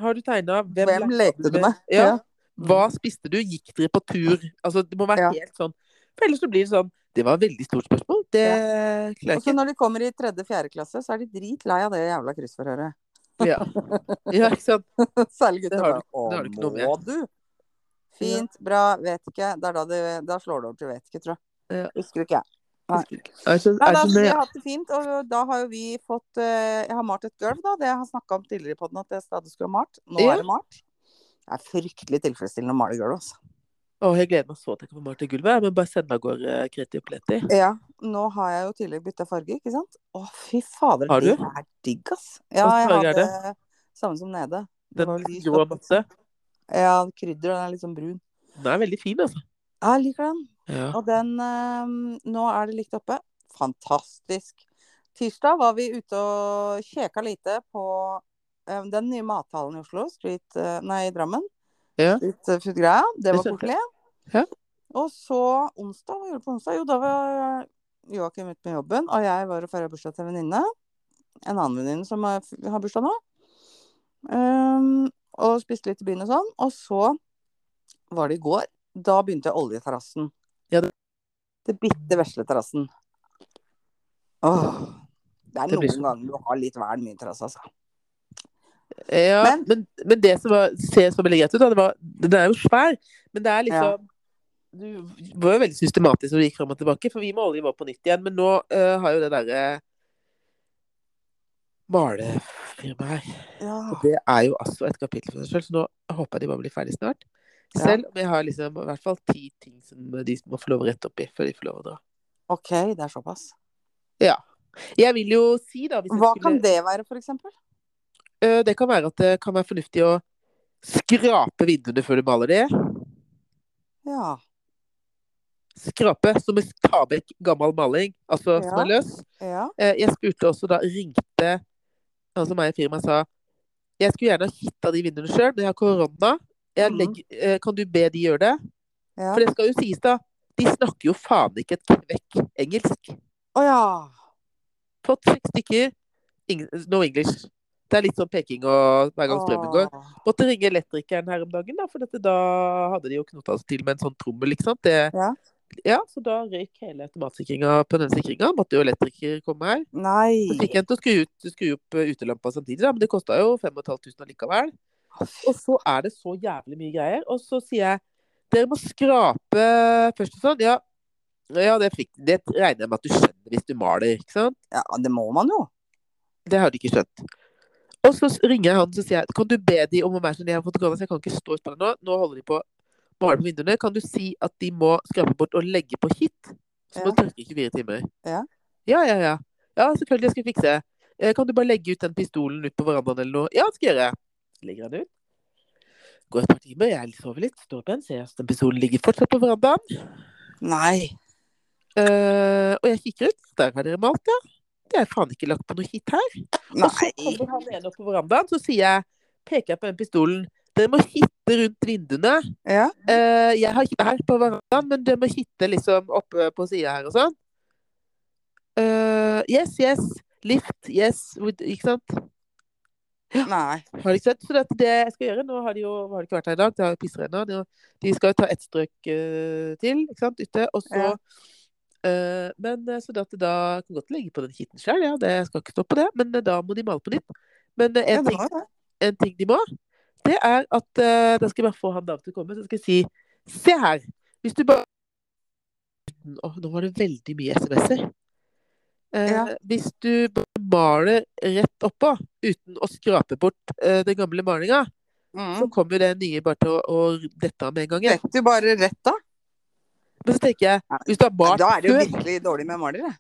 B: Har du tegna?
A: Hvem, lekte du med?
B: Ja.
A: Ja.
B: Hva spiste du? Gikk dere på tur? Altså, det må være
A: Ja.
B: helt sånn. For ellers så blir det sånn Det var et veldig stort spørsmål. Det klarer
A: Og
B: jeg
A: så
B: ikke.
A: når de kommer i tredje-fjerde klasse, så er de dritlei av det jævla kryssforhøret.
B: Ja. ja, ikke sant.
A: Særlig
B: Det
A: gutter. bare,
B: har du- det har du ikke noe med."
A: Å, må du? Fint, bra, vet ikke. Det er da, det, da slår det over til vet ikke, tror jeg.
B: Ja.
A: Husker ikke jeg. Nei.
B: Altså,
A: Nei, da, så
B: altså,
A: vi
B: det-
A: har hatt det fint, og da har jo vi fått eh, Jeg har malt et gulv, da. Det jeg har snakka om tidligere i podden at jeg stadig skulle ha malt. Nå
B: Ja.
A: er det malt. Det er fryktelig tilfredsstillende å male gulv, altså.
B: Å, jeg gleder meg så til jeg kommer til gulvet. Men bare send meg av gårde eh, kreti og pleti.
A: Ja, nå har jeg jo tidligere bytta farge, ikke sant? Å, fy fader,
B: Har du?
A: det er digg, ass. Ja,
B: Hva
A: jeg
B: farge er
A: hadde samme som nede. Det
B: Den
A: var lyst
B: grå
A: og-
B: matte.
A: Ja, krydder, og den er litt sånn brun.
B: Den er veldig fin, altså.
A: Ja, jeg liker den.
B: Ja.
A: Og den eh, Nå er det likt oppe. Fantastisk. Tirsdag var vi ute og kjeka lite på eh, den nye mathallen i Oslo, Street, eh, nei, i Drammen.
B: Ja.
A: Street eh, Food Greia. Det var
B: skjønte
A: koselig.
B: Ja.
A: Og så onsdag, hva gjorde du på onsdag? Jo, da var Joakim ute med jobben, og jeg var og feira bursdag til en venninne. En annen venninne som har har bursdag nå. Ehm, og spiste litt i byen og sånn. Og så var det i går. Da begynte oljeterrassen.
B: Ja, det-
A: Det bitte vesle terrassen. Åh. Det er
B: Det blir
A: noen ganger du har litt vel mye terrasse, altså.
B: Ja,
A: Men-
B: men, men, det som var, ser så veldig greit ut, da, det var, den er jo svær, men det er liksom Du var jo veldig systematisk når du gikk fram og tilbake, for vi med olje var på nytt igjen. Men nå eh, har jo det derre malefirmaet her
A: Ja.
B: Og det er jo altså et kapittel for seg selv, så nå håper jeg de bare blir ferdig snart. Selv om jeg har liksom i hvert fall ti ting som de må få lov å rette opp i før de får lov å dra.
A: OK, det er såpass.
B: Jeg vil jo si, da hvis jeg
A: Hva
B: skulle-
A: kan det være, for eksempel?
B: Eh, Det kan være at det kan være fornuftig å skrape vinduene før du maler det.
A: Ja.
B: Skrape, som å ta vekk gammel maling, altså som er løs.
A: Ja.
B: Eh, Jeg spurte også da, ringte han som er i firmaet, sa jeg skulle gjerne ha kitta de vinduene sjøl, men jeg har korona. Jeg
A: Mhm.
B: legger, eh, kan du be de gjøre det?
A: ja.
B: For det skal jo sies, da. De snakker jo faen ikke et kvekk engelsk.
A: Å ja.
B: Fått seks stykker, ing- no English. Det er litt sånn peking og hver gang strømmen går.
A: Åh.
B: Måtte ringe elektrikeren her om dagen, da, for dette, da hadde de jo knota seg til med en sånn trommel. ikke sant? Det,
A: Ja.
B: ja, Så da røyk hele automatsikringa på den sikringa. Måtte jo elektriker komme her. Så
A: Nei.
B: fikk jeg en til å skru, ut, skru opp eh, utelampa samtidig, da, men det kosta jo 5500 allikevel. Og så er det så jævlig mye greier. Og så sier jeg dere må skrape først og sånn. Ja, ja det, fikk, det regner jeg med at du skjønner hvis du maler, ikke sant?
A: Ja, det må man jo.
B: Det har de ikke skjønt. Og så s- ringer jeg han og sier jeg, kan du be de om å være sånn, jeg har fått korona, så jeg kan ikke stå ute på det nå. Nå holder de på å male på vinduene. Kan du si at de må skrape bort og legge på hit? Så må
A: Ja.
B: du tørke i 24 timer.
A: Ja.
B: ja, ja. Ja, ja selvfølgelig, jeg skal fikse. Eh, Kan du bare legge ut den pistolen ut på verandaen eller noe? Ja, det skal jeg gjøre. Så legger han ut. Går et par timer, jeg sover litt, står opp igjen, ser at den pistolen ligger fortsatt på verandaen.
A: Nei.
B: Eh, og jeg kikker ut, der har dere malt, ja. Det er faen ikke lagt på noe hit her.
A: Nei.
B: Og så kommer han ene opp på verandaen, så sier jeg, peker jeg på den pistolen. Dere må hitte rundt vinduene.
A: Ja.
B: Eh, jeg har hitte her på verandaen, men dere må hitte liksom oppe på sida her og sånn. Eh, yes, yes. Lift, yes. with- Ikke sant?
A: Nei.
B: Har de ikke sett? Så det, det jeg skal gjøre Nå har de jo har de ikke vært her i dag, det har jo pissregna. De, de skal jo ta ett strøk eh, til, ikke sant, ute. Og så
A: Ja.
B: eh, Men eh, så det at det da jeg Kan godt legge på den kitten sjøl, ja. Det jeg skal ikke stå på det. Men eh, da må de male på nytt. Men eh,
A: Ja,
B: en
A: det
B: ting
A: må jo det.
B: en ting de må, det er at eh, Da skal jeg bare få han Dag til å komme, så skal jeg si Se her! Hvis du bare Uten- Åh, Nå var det veldig mye SMS-er. Eh,
A: Ja.
B: Hvis du bare maler rett oppå, uten å skrape bort eh, den gamle malinga, så
A: Mm.
B: kommer jo det nye bare til å, å dette av med en gang. jeg.
A: Setter jo bare rett da.
B: Men så tenker jeg, hvis du har malt
A: Da er det jo
B: før
A: virkelig dårlig med malere.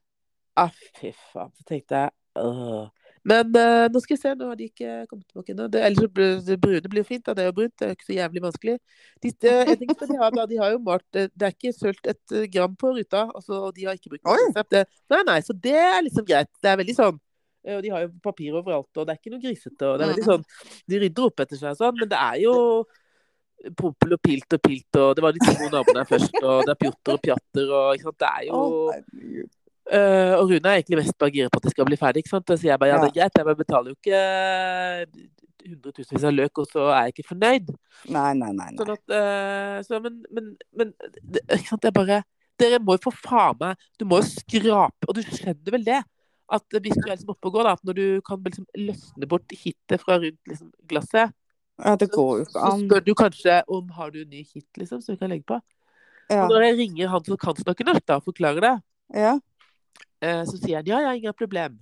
B: Ah, fy faen. Så tenkte jeg åh. Men eh, nå skal vi se, nå har de ikke kommet tilbake ennå. Det- Ellers så blir det brune blir jo fint, da. Det er jo brunt. Det er jo ikke så jævlig vanskelig. De, eh, jeg tenker, på de, har, da, de har jo malt eh, Det er ikke sølt et eh, gram på ruta, altså, og så- og de har ikke brukt
A: Oi.
B: konsept. Det- Nei, nei, så det er liksom greit. Det er veldig sånn eh, og de har jo papir overalt, og det er ikke noe grisete. og det er veldig sånn, De rydder opp etter seg, og sånn, men det er jo Pompel og pilt og pilt, og det var de to naboene her først, og det er pjotter og pjatter, og ikke sant. Det er jo
A: Å, herregud.
B: Eh, og Rune er egentlig mest bare gira på at det skal bli ferdig. ikke sant? Og så sier jeg bare ja, det er greit, jeg bare betaler jo ikke hundretusenvis av løk, og så er jeg ikke fornøyd.
A: Nei, nei, nei. nei.
B: Sånn at, eh, så, men, men, men det, ikke sant, det er bare Dere må jo for faen meg Du må jo skrape, og du skjønner vel det? At hvis du er liksom oppe og går, da, at når du kan liksom løsne bort hittet fra rundt liksom, glasset,
A: Ja, det går jo
B: så
A: ikke an.
B: spør du kanskje om har du en ny hit liksom, som du kan legge på.
A: Ja.
B: Og når jeg ringer han som kan snakke norsk, da, og forklarer det,
A: ja.
B: Eh, så sier han ja, ja, ingen problem.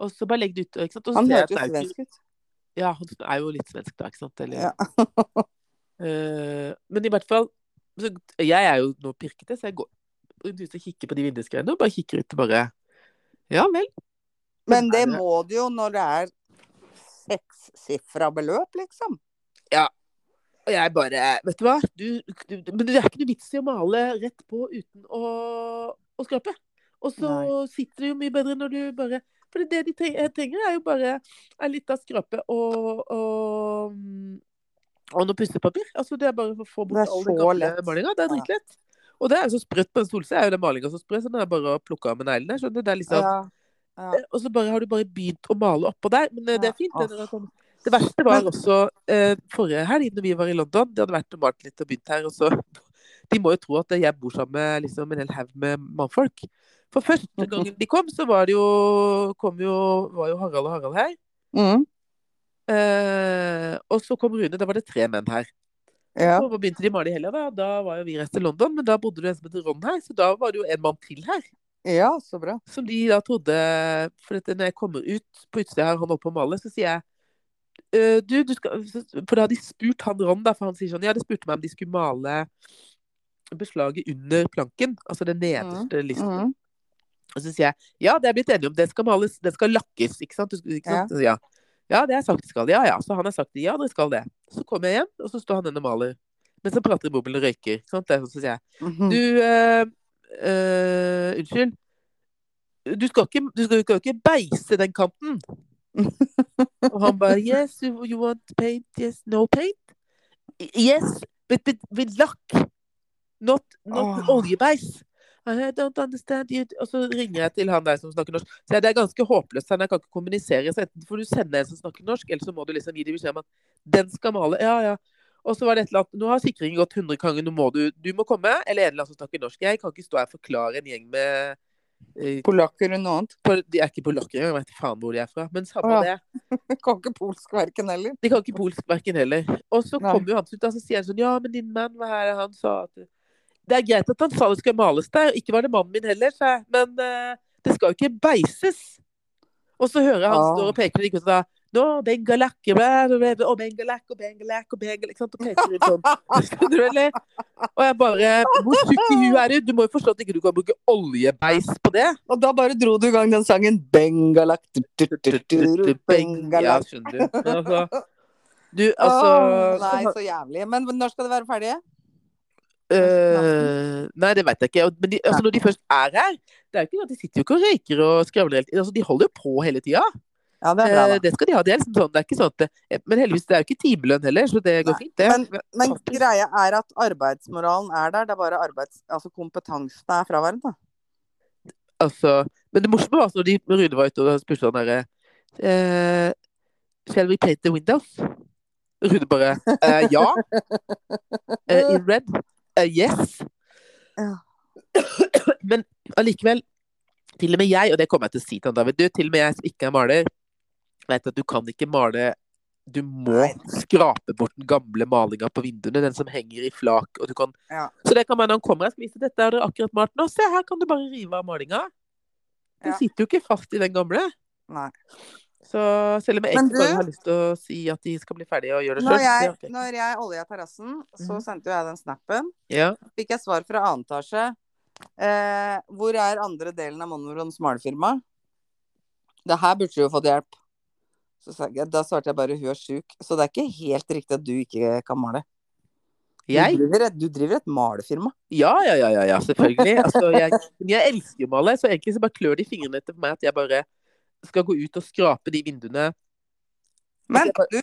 B: Og så bare legg det ut. Ikke sant? Og så
A: Han
B: ser jeg
A: hørtes
B: at det er jo ikke-
A: svensk ut.
B: [LAUGHS] Ja, han er jo litt svensk da, ikke sant. Eller,
A: Ja.
B: eh, men i hvert fall så, jeg er jo nå pirkete, så jeg går rundt huset og kikker på de vindusgreiene og bare kikker ut og bare Ja vel.
A: Men det må du jo når det er sekssifra beløp, liksom.
B: Og jeg bare Vet du hva? Du, du, du, men det er ikke noe vits i å male rett på uten å, å skrape. Og så
A: Nei.
B: sitter det jo mye bedre når du bare For det er det de trenger, jeg trenger, er jo bare en liten skrape og, og mm, og noe pussepapir. Altså, det er bare for å få
A: Det
B: bort
A: er
B: all den
A: så
B: gamle
A: lett.
B: malinga. Det er dritlett. Og det er jo så sprøtt på en stolse. Er jo den malinga så sprøt, så den er bare å plukke av med neglene. Skjønner du? Det er liksom
A: Ja. Ja.
B: Eh, Og så bare, har du bare begynt å male oppå der. Men eh,
A: Ja,
B: det er fint.
A: åh.
B: Det, når det, kommer. det verste var
A: Men-
B: også eh, forrige helg, når vi var i London. De hadde vært og malt litt og begynt her. Og så De må jo tro at jeg bor sammen med liksom, en hel haug med mannfolk. For første
A: Mhm.
B: gangen de kom, så var det jo, kom jo, var jo Harald og Harald her.
A: Mm.
B: Eh, og så kom Rune. Da var det tre menn her.
A: ja.
B: Så begynte de å male i helga. Da. da var jo vi reist til London, men da bodde det en som het Ron her. Så da var det jo en mann til her.
A: Ja, så bra.
B: Som de da trodde For at når jeg kommer ut på utsida her, han holder på å male, så sier jeg «Eh, du, du skal så- For da har de spurt han Ron, da, for han sier sånn Ja, de spurte meg om de skulle male beslaget under planken. Altså det nederste listen.
A: Mm.
B: Og så sier jeg ja, det er blitt enige om. Det skal males, det skal lakkes. Ikke sant? Du skal- Ikke sant? Ja. ja, det er sagt det skal. Ja ja. Så han har sagt det. Ja, dere skal det. Så kommer jeg hjem, og så står han igjen og maler. Mens han prater i bobilen og røyker. Ikke sant? Det er sånn, så sier jeg
A: Mhm.
B: du, eh, eh, unnskyld. Du skal, ikke, du skal jo ikke beise den kanten. Og han bare Yes, you, you want paint? Yes, no paint? Yes, but with, with luck. Not,
A: Åh.
B: not oljebeis. I don't understand you. Og så ringer jeg til han der som snakker norsk. Så jeg, det er ganske håpløst. Han kan ikke kommunisere. Så enten får du sende en som snakker norsk, eller så må du liksom gi dem beskjed om at den skal male. Ja, ja. Og så var det et eller annet Nå har sikringen gått 100 ganger, nå må du Du må komme. Eller en eller annen som snakker norsk. Jeg kan ikke stå her og forklare en gjeng med eh,
A: Polakker og noe annet. [LAUGHS]
B: pol- De er ikke polakker, jeg vet faen hvor de er fra. Men samme
A: Å,
B: det.
A: Kan ikke polsk verken heller.
B: De kan ikke polsk verken heller. Og så
A: Nei.
B: kommer jo han ut, og så sier han sånn Ja, men din mann, hva er det han sa? At det er greit at han sa det skal males der, og ikke var det mannen min heller, sa jeg. Men eh, det skal jo ikke beises. Og så hører jeg han
A: Ah.
B: står og peker ut og da Nå, bengalak, blæ, blæ, blæ, blæ, og bengalak, og bengalak, og bengalak, ikke sant? Og peker ut sånn.
A: [LAUGHS]
B: [LAUGHS] Skjønner du, eller? Og jeg bare Hvor tjukk i huet er du? Du må jo forstå at ikke du kan bruke oljebeis på det.
A: Og da bare dro du i gang den sangen Bengalak du, du, du, du, du,
B: Ja,
A: Bengalak.
B: skjønner du. Men
A: [LAUGHS]
B: altså Du,
A: Åh,
B: altså
A: nei, så jævlig. Men når skal det være ferdig?
B: Eh, nei, det veit jeg ikke. Og- Men de, altså, når de først er her Det er jo ikke sånn at De sitter jo ikke og røyker og skravler hele tiden. Altså, de holder jo på hele tida.
A: Ja, det
B: Det,
A: er bra, da.
B: det skal de ha. Det er liksom sånn, det er ikke sånn at det, Men heldigvis, det er jo ikke timelønn heller, så det går
A: Nei,
B: fint, det.
A: Men
B: Faktisk.
A: greia er at arbeidsmoralen er der, det er bare arbeids... Altså kompetansen er fraværende.
B: Altså, men det morsomme var altså når de når Rune var ute og spurte han derre eh, Shall we paint the windows? Rune bare eh,
A: [LAUGHS]
B: Ja. Eh, in red. Eh, yes.
A: Ja.
B: Men allikevel, til og med jeg, og det kommer jeg til å si til han David, du, til og med jeg som ikke er maler, vet at du kan ikke male Du må
A: Nei.
B: skrape bort den gamle malinga på vinduene, den som henger i flak. Og du kan...
A: Ja.
B: Så det kan man når han kommer og skal vise dette har dere akkurat malt nå. Se, her kan du bare rive av malinga. Den
A: Ja.
B: sitter jo ikke fast i den gamle.
A: Nei.
B: Så selv om jeg
A: Men
B: egentlig bare
A: du-
B: har lyst til å si at de skal bli ferdige og gjøre det
A: Når
B: sjøl.
A: jeg, når jeg olja terrassen, så
B: Mhm.
A: sendte jo jeg den snappen.
B: Ja.
A: Fikk jeg svar fra annen etasje. Eh, hvor er andre delen av Monorons malefirma? Det her burde du jo fått hjelp. Så sa jeg, da svarte jeg bare hun er sjuk. Så det er ikke helt riktig at du ikke kan male. Du
B: Jeg?
A: driver et, du driver et malefirma.
B: Ja, ja, ja, ja, ja selvfølgelig. Altså, jeg, men jeg elsker jo å male, så egentlig så bare klør det i fingrene etter meg at jeg bare skal gå ut og skrape de vinduene.
A: Men
B: Jeg bare-
A: du,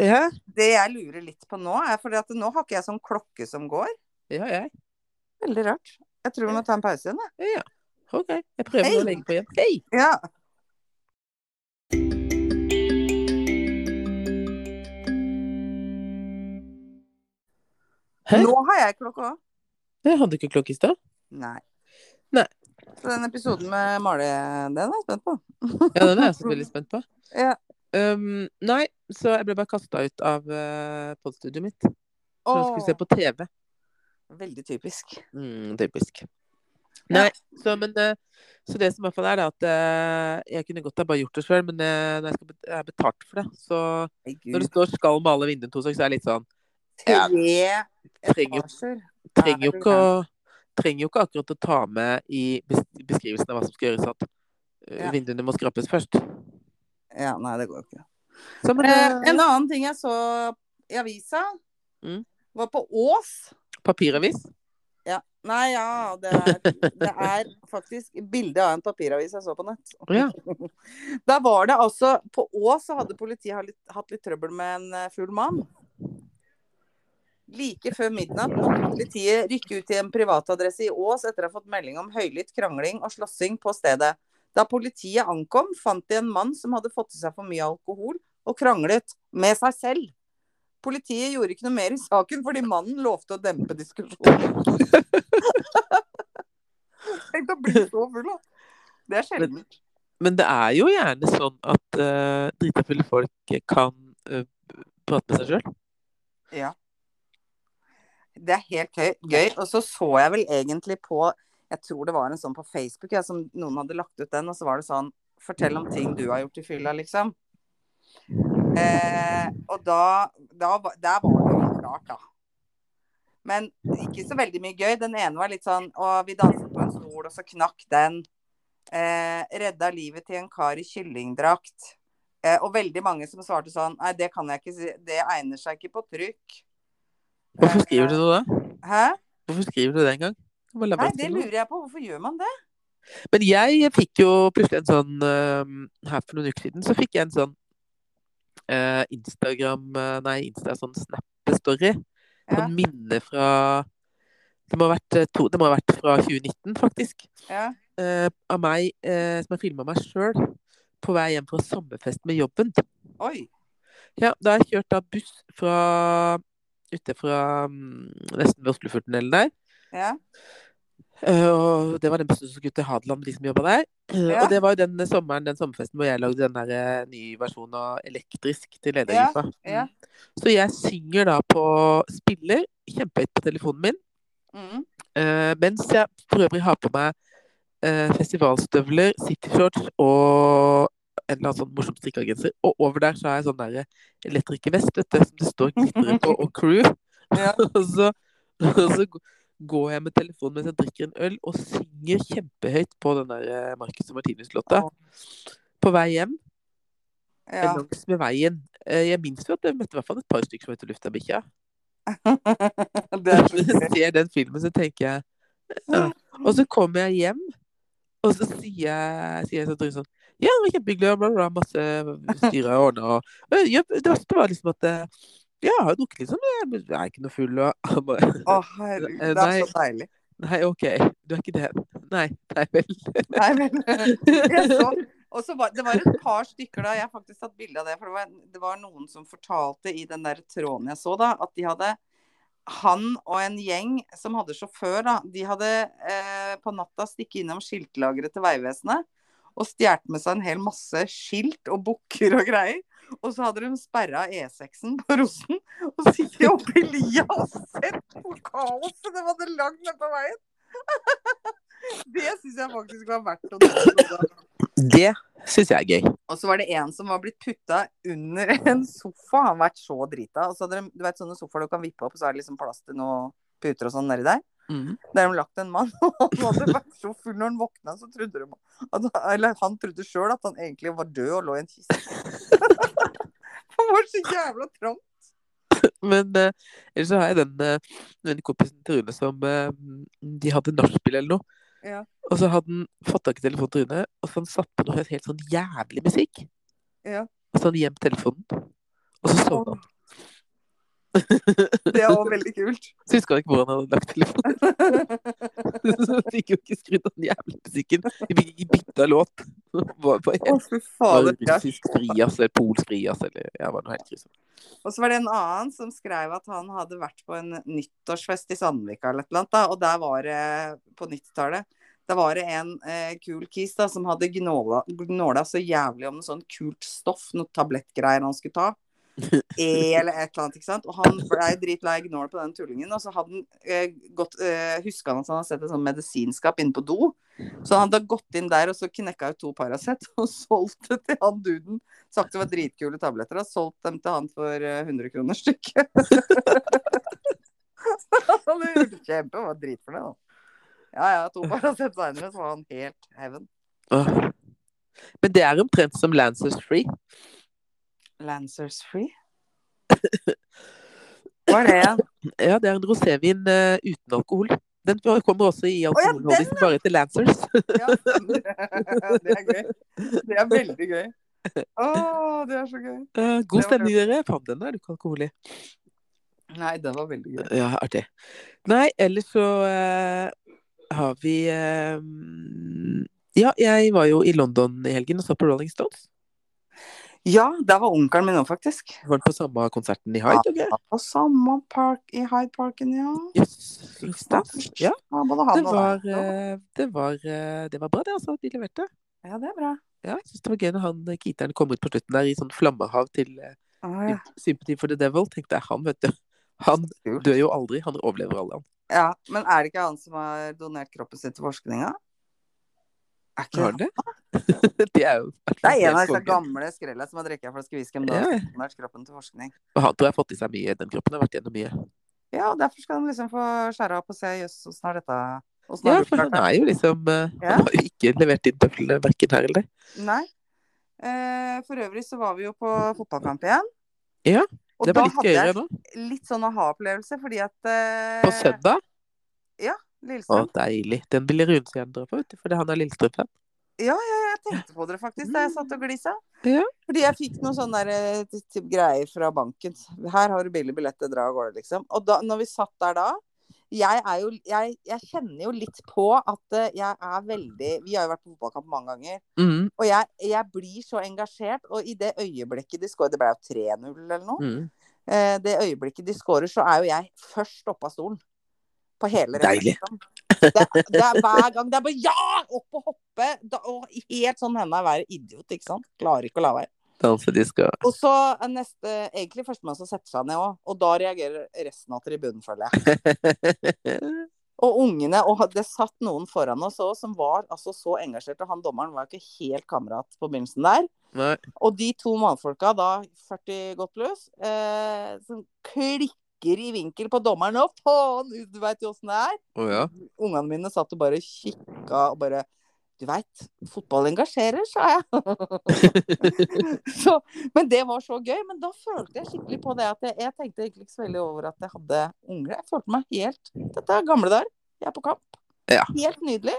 B: Ja,
A: det jeg lurer litt på nå, er fordi at nå har ikke jeg sånn klokke som går.
B: ja, jeg.
A: Veldig rart. Jeg tror vi må ta en pause igjen, jeg.
B: Ja, ja. OK. Jeg prøver
A: Hei.
B: å legge på igjen. Hei!
A: Ja.
B: Hæ?
A: Nå har jeg klokka òg.
B: Jeg hadde ikke klokke i stad.
A: Nei.
B: Nei.
A: Så den episoden med Male, den er jeg spent på.
B: Ja, den er jeg så veldig spent på.
A: Ja.
B: Um, nei, så jeg ble bare kasta ut av uh, podstudioet mitt. For jeg skulle se på TV.
A: Veldig typisk.
B: Mm, typisk.
A: Ja.
B: Nei, så, men, eh, så det som i hvert fall er, det at eh, jeg kunne godt ha bare gjort det sjøl, men eh, når jeg, skal bet jeg er betalt for det. Så når
A: Herregud.
B: det står 'skal male vinduet' to ganger, så er jeg litt sånn
A: Tre
B: trenger jo
A: etasjer.
B: trenger jo
A: Er du
B: ikke å trenger jo ikke akkurat å ta med i bes- beskrivelsen av hva som skal gjøres, at eh,
A: Ja.
B: vinduene må skrapes først.
A: Ja, nei, det går jo ikke.
B: Så, men,
A: Eh,
B: eh,
A: en annen ting jeg så i avisa,
B: Mm.
A: var på Ås.
B: Papiravis?
A: Nei, ja, det er, det er faktisk bilde av en papiravis jeg så på nett. [LAUGHS]
B: Ja.
A: Der var det altså På Ås så hadde politiet hatt litt, hatt litt trøbbel med en eh, full mann. Like før midnatt måtte politiet rykke ut til en privatadresse i Ås etter å ha fått melding om høylytt krangling og slåssing på stedet. Da politiet ankom, fant de en mann som hadde fått i seg for mye alkohol og kranglet med seg selv. Politiet gjorde ikke noe mer i saken fordi mannen lovte å dempe diskusjonen. [LAUGHS] Tenk å bli så full, da. Det er sjelden.
B: Men det er jo gjerne sånn at uh, drita fulle folk kan eh, prate med seg sjøl.
A: Det er helt gøy. gøy. Og så så jeg vel egentlig på Jeg tror det var en sånn på Facebook jeg, som noen hadde lagt ut den, og så var det sånn Fortell om ting du har gjort i fylla, liksom. Eh, og da, da var- Der var det jo klart, da. Men ikke så veldig mye gøy. Den ene var litt sånn Å, vi danset på en stol, og så knakk den. Eh, redda livet til en kar i kyllingdrakt. Eh, og veldig mange som svarte sånn Nei, det kan jeg ikke si. Det egner seg ikke på trykk.
B: Hvorfor skriver du det da?
A: Hæ?
B: Hvorfor skriver du det en gang? Du må la
A: Nei,
B: være å
A: det
B: skrive det.
A: lurer jeg på. Hvorfor gjør man det?
B: Men jeg fikk jo plutselig en sånn eh, Her for noen uker siden så fikk jeg en sånn eh, Instagram eh, Nei, Insta, sånn snappestory.
A: Ja,
B: Sånn minne fra det må, ha vært, eh, to, det må ha vært fra 2019, faktisk.
A: ja.
B: eh, av meg eh, som har filma meg sjøl på vei hjem fra sommerfest med jobben.
A: Oi.
B: Ja, da har jeg kjørt da buss fra ute fra mm, nesten ved Oslofjordtunnelen der.
A: Ja.
B: Eh, Og det var den bussen som skulle til Hadeland, de som jobba der. Eh,
A: Ja.
B: Og det var jo den sommeren, den sommerfesten hvor jeg lagde den der eh, nye versjonen av elektrisk til ledergruppa.
A: ja.
B: Så jeg synger da på spiller, kjempehøyt på telefonen min,
A: Mm.
B: eh, mens jeg for øvrig har på meg eh, festivalstøvler, cityshorts og en eller annen sånn morsom strikkegenser. Og over der så har jeg sånn der elektrikervest, vet du, som det står glitteret på, og crew.
A: Ja.
B: og, så, og så g- går jeg med telefonen mens jeg drikker en øl, og synger kjempehøyt på den der eh, Marcus og Martinus-låta.
A: Åh.
B: På vei hjem,
A: ja.
B: langs med veien. Eh, Jeg minnes jo at jeg møtte i hvert fall et par stykker som het Luftabikkja.
A: [LAUGHS]
B: [LAUGHS]
A: det er
B: Når jeg ser den filmen, så tenker jeg ja. Og så kommer jeg hjem, og så sier jeg, sier jeg sånn, sånn Ja, det var kjempehyggelig, og bla, bla, bla, masse styr og ordna og og jeg- Det verste var liksom at eh, Ja, jeg har jo drukket litt sånn, men jeg er ikke noe full og [LAUGHS] han bare,
A: Å, herregud. Det er så deilig.
B: Nei, OK, du er ikke det. Nei, nei vel.
A: Nei,
B: [LAUGHS]
A: men jeg så og så var, Det var et par stykker da, jeg har faktisk tatt bilde av det. For det var, det var noen som fortalte i den der tråden jeg så, da, at de hadde han og en gjeng som hadde sjåfør, da, de hadde eh, på natta stikket innom skiltlageret til Vegvesenet og stjålet med seg en hel masse skilt og bukker og greier. Og så hadde de sperra E6-en på Rosen og sittet oppe i lia og sett på kaoset de hadde lagd nede på veien. [LAUGHS] Det syns jeg faktisk var verdt å ta.
B: [LAUGHS] Det syns jeg er gøy.
A: Og så var det en som var blitt putta under en sofa. Han har vært så drita. Og så hadde de, du vet sånne sofaer du kan vippe opp, og så er det liksom plass til noen puter og sånn nedi der.
B: Mm.
A: Der har de lagt en mann, [LAUGHS] og han hadde vært så full når han våkna, så trodde de at, Eller han trodde sjøl at han egentlig var død og lå i en kiste. [LAUGHS] Han var så jævla trang.
B: Men eh, ellers så har jeg den, eh, den kompisen til Rune som eh, De hadde nachspiel eller noe.
A: Ja.
B: Og så hadde han fått tak i telefonen til Rune, og så han satt på noe helt sånn jævlig musikk.
A: Ja.
B: Og så han gjemt telefonen. Og så sovna han.
A: Det var veldig kult.
B: Så huska han ikke hvor han hadde lagt telefonen. [LAUGHS] Så han fikk jo ikke skrudd av den jævla musikken. De fikk ikke bytta låt. [LAUGHS] Var
A: Å,
B: på en
A: fy
B: var
A: fader.
B: det russisk frijazz eller polsk frijazz eller ja, var noe helt krise.
A: Og så var det en annen som skrev at han hadde vært på en nyttårsfest i Sandvika eller et eller annet, da, og der var det på 90-tallet. Da var det en eh, kul kis da, som hadde gnåla, gnåla så jævlig om noe sånn kult stoff, noe tablettgreier han skulle ta. E eller et eller annet, ikke sant. Og han blei dritlei gnål på den tullingen. Og så hadde han eh, gått eh, Huska han at han hadde sett et sånt medisinskap inne på do. Så han hadde gått inn der og så knekka ut to Paracet [LAUGHS] og solgt det til han duden sagt det var [LAUGHS] dritkule tabletter. Har solgt dem til han for eh, 100 kroner stykket. Han lurte kjempe, var dritfornøyd. han. Ja ja, to Paracet seinere så var han helt heaven.
B: Åh. Men det er omtrent som Lancers Free.
A: Lancers [LAUGHS] free? Hva er det igjen?
B: Ja, det er en rosévin eh, uten alkohol. Den kommer også i alkoholholdig, bare til Lancers. [LAUGHS]
A: Ja. Det er gøy. Det er veldig gøy. Å, det er så gøy.
B: Eh,
A: var
B: God stemning, dere. Faen, den er du ikke alkohol i.
A: Nei, den var veldig gøy.
B: Ja, artig. Nei, ellers så eh, har vi eh, mm, Ja, jeg var jo i London i helgen og så på Rolling Stones.
A: Ja, der var onkelen min òg, faktisk.
B: Var den på samme konserten i Hyde? ok?
A: Ja, På samme park i Hyde Parken, ja.
B: Yes, stas. Ja,
A: ja både
B: det
A: han og
B: var,
A: deg.
B: eh, det var, eh, det var bra, det, altså. at De leverte.
A: Ja, det er bra.
B: Ja, jeg syns det var gøy når han eh, keeperen kom ut på slutten der i sånn flammehav til eh,
A: Ja, ja.
B: Sympathy for the Devil. Tenkte jeg, han, vet du. Han dør jo aldri. Han overlever alle, han.
A: Ja, men er det ikke han som har donert kroppen sin til forskninga? Er ikke
B: Har han det? [LAUGHS] det er jo
A: Det er en av
B: helt
A: disse
B: konge.
A: gamle skrella som har drukket en flaske whisky, men da
B: Ja.
A: har donert kroppen til forskning.
B: Og Han tror jeg har fått i seg mye. Den kroppen har vært gjennom mye.
A: Ja, og derfor skal han liksom få skjære opp og se jøss, åssen har dette åssen
B: Ja,
A: har du
B: for
A: klart det?
B: han er jo liksom eh,
A: Ja.
B: Han har jo ikke levert inn tøflene verken her eller der.
A: Nei. Eh, for øvrig så var vi jo på fotballkamp igjen.
B: Ja,
A: og
B: Det
A: da
B: var litt
A: hadde
B: gøyere
A: jeg
B: nå.
A: litt sånn aha-opplevelse, fordi at eh,
B: På søndag. Å,
A: Lillestrøm
B: deilig. Den vil Rune så gjerne dra på, vet du, fordi han er Lillestrøm-fan.
A: Jeg tenkte på dere faktisk da jeg satt og glisa.
B: Ja.
A: Fordi jeg fikk noen sånne der, eh, t- typ greier fra banken. Her har du billig billett, det drar av gårde, liksom. Og da når vi satt der da jeg, er jo, jeg, jeg kjenner jo litt på at eh, jeg er veldig Vi har jo vært på fotballkamp mange ganger.
B: Mm,
A: Og jeg, jeg blir så engasjert. Og i det øyeblikket de scorer Det ble jo 3-0 eller noe.
B: mm.
A: Eh, det øyeblikket de scorer, så er jo jeg først oppe av stolen. På hele rennen,
B: Deilig.
A: liksom. Det, det er hver gang. Det er bare ja! Opp og hoppe. Da, og helt sånn henda er være idiot, ikke sant. Klarer ikke å la være.
B: Danse disko.
A: Og så er neste Egentlig førstemann som setter seg ned òg. Og da reagerer resten av tribunen, føler jeg. Og ungene Og det satt noen foran oss òg som var altså så engasjert. Og han dommeren var jo ikke helt kamerat på begynnelsen der.
B: [LAUGHS] Nei.
A: Og de to mannfolka, da 40 godt pluss, eh, som klikker i vinkel på dommeren. Å, faen! Du veit jo åssen det er.
B: Å ja.
A: Ungene mine satt og bare kikka og bare Du veit, fotball engasjerer, sa jeg. [LAUGHS] så, men det var så gøy. Men da følte jeg skikkelig på det at jeg, jeg tenkte egentlig ikke så veldig over at jeg hadde unger. Jeg følte meg helt Dette er gamle dager. Jeg er på kamp.
B: Ja.
A: Helt nydelig.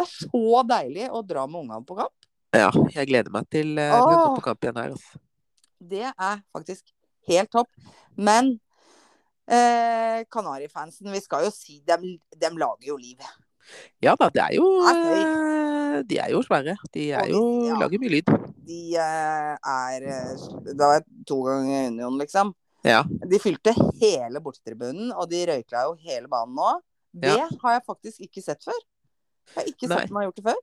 A: Det er så deilig å dra med ungene på kamp.
B: Ja, jeg gleder meg til uh, vi
A: Åh.
B: går på kamp igjen her. Altså.
A: Det er faktisk helt topp. Men eh, Kanarifansen, vi skal jo si dem, dem lager jo liv.
B: Ja da, det er jo
A: Ja,
B: eh, De er jo svære. De
A: Og
B: er
A: de-
B: jo
A: ja.
B: lager mye lyd.
A: De eh, er eh, Det var to ganger Union, liksom.
B: Ja.
A: De fylte hele bortetribunen, og de røykla jo hele banen nå. Det har jeg faktisk ikke sett før. Jeg har ikke
B: Nei.
A: sett dem har gjort det før.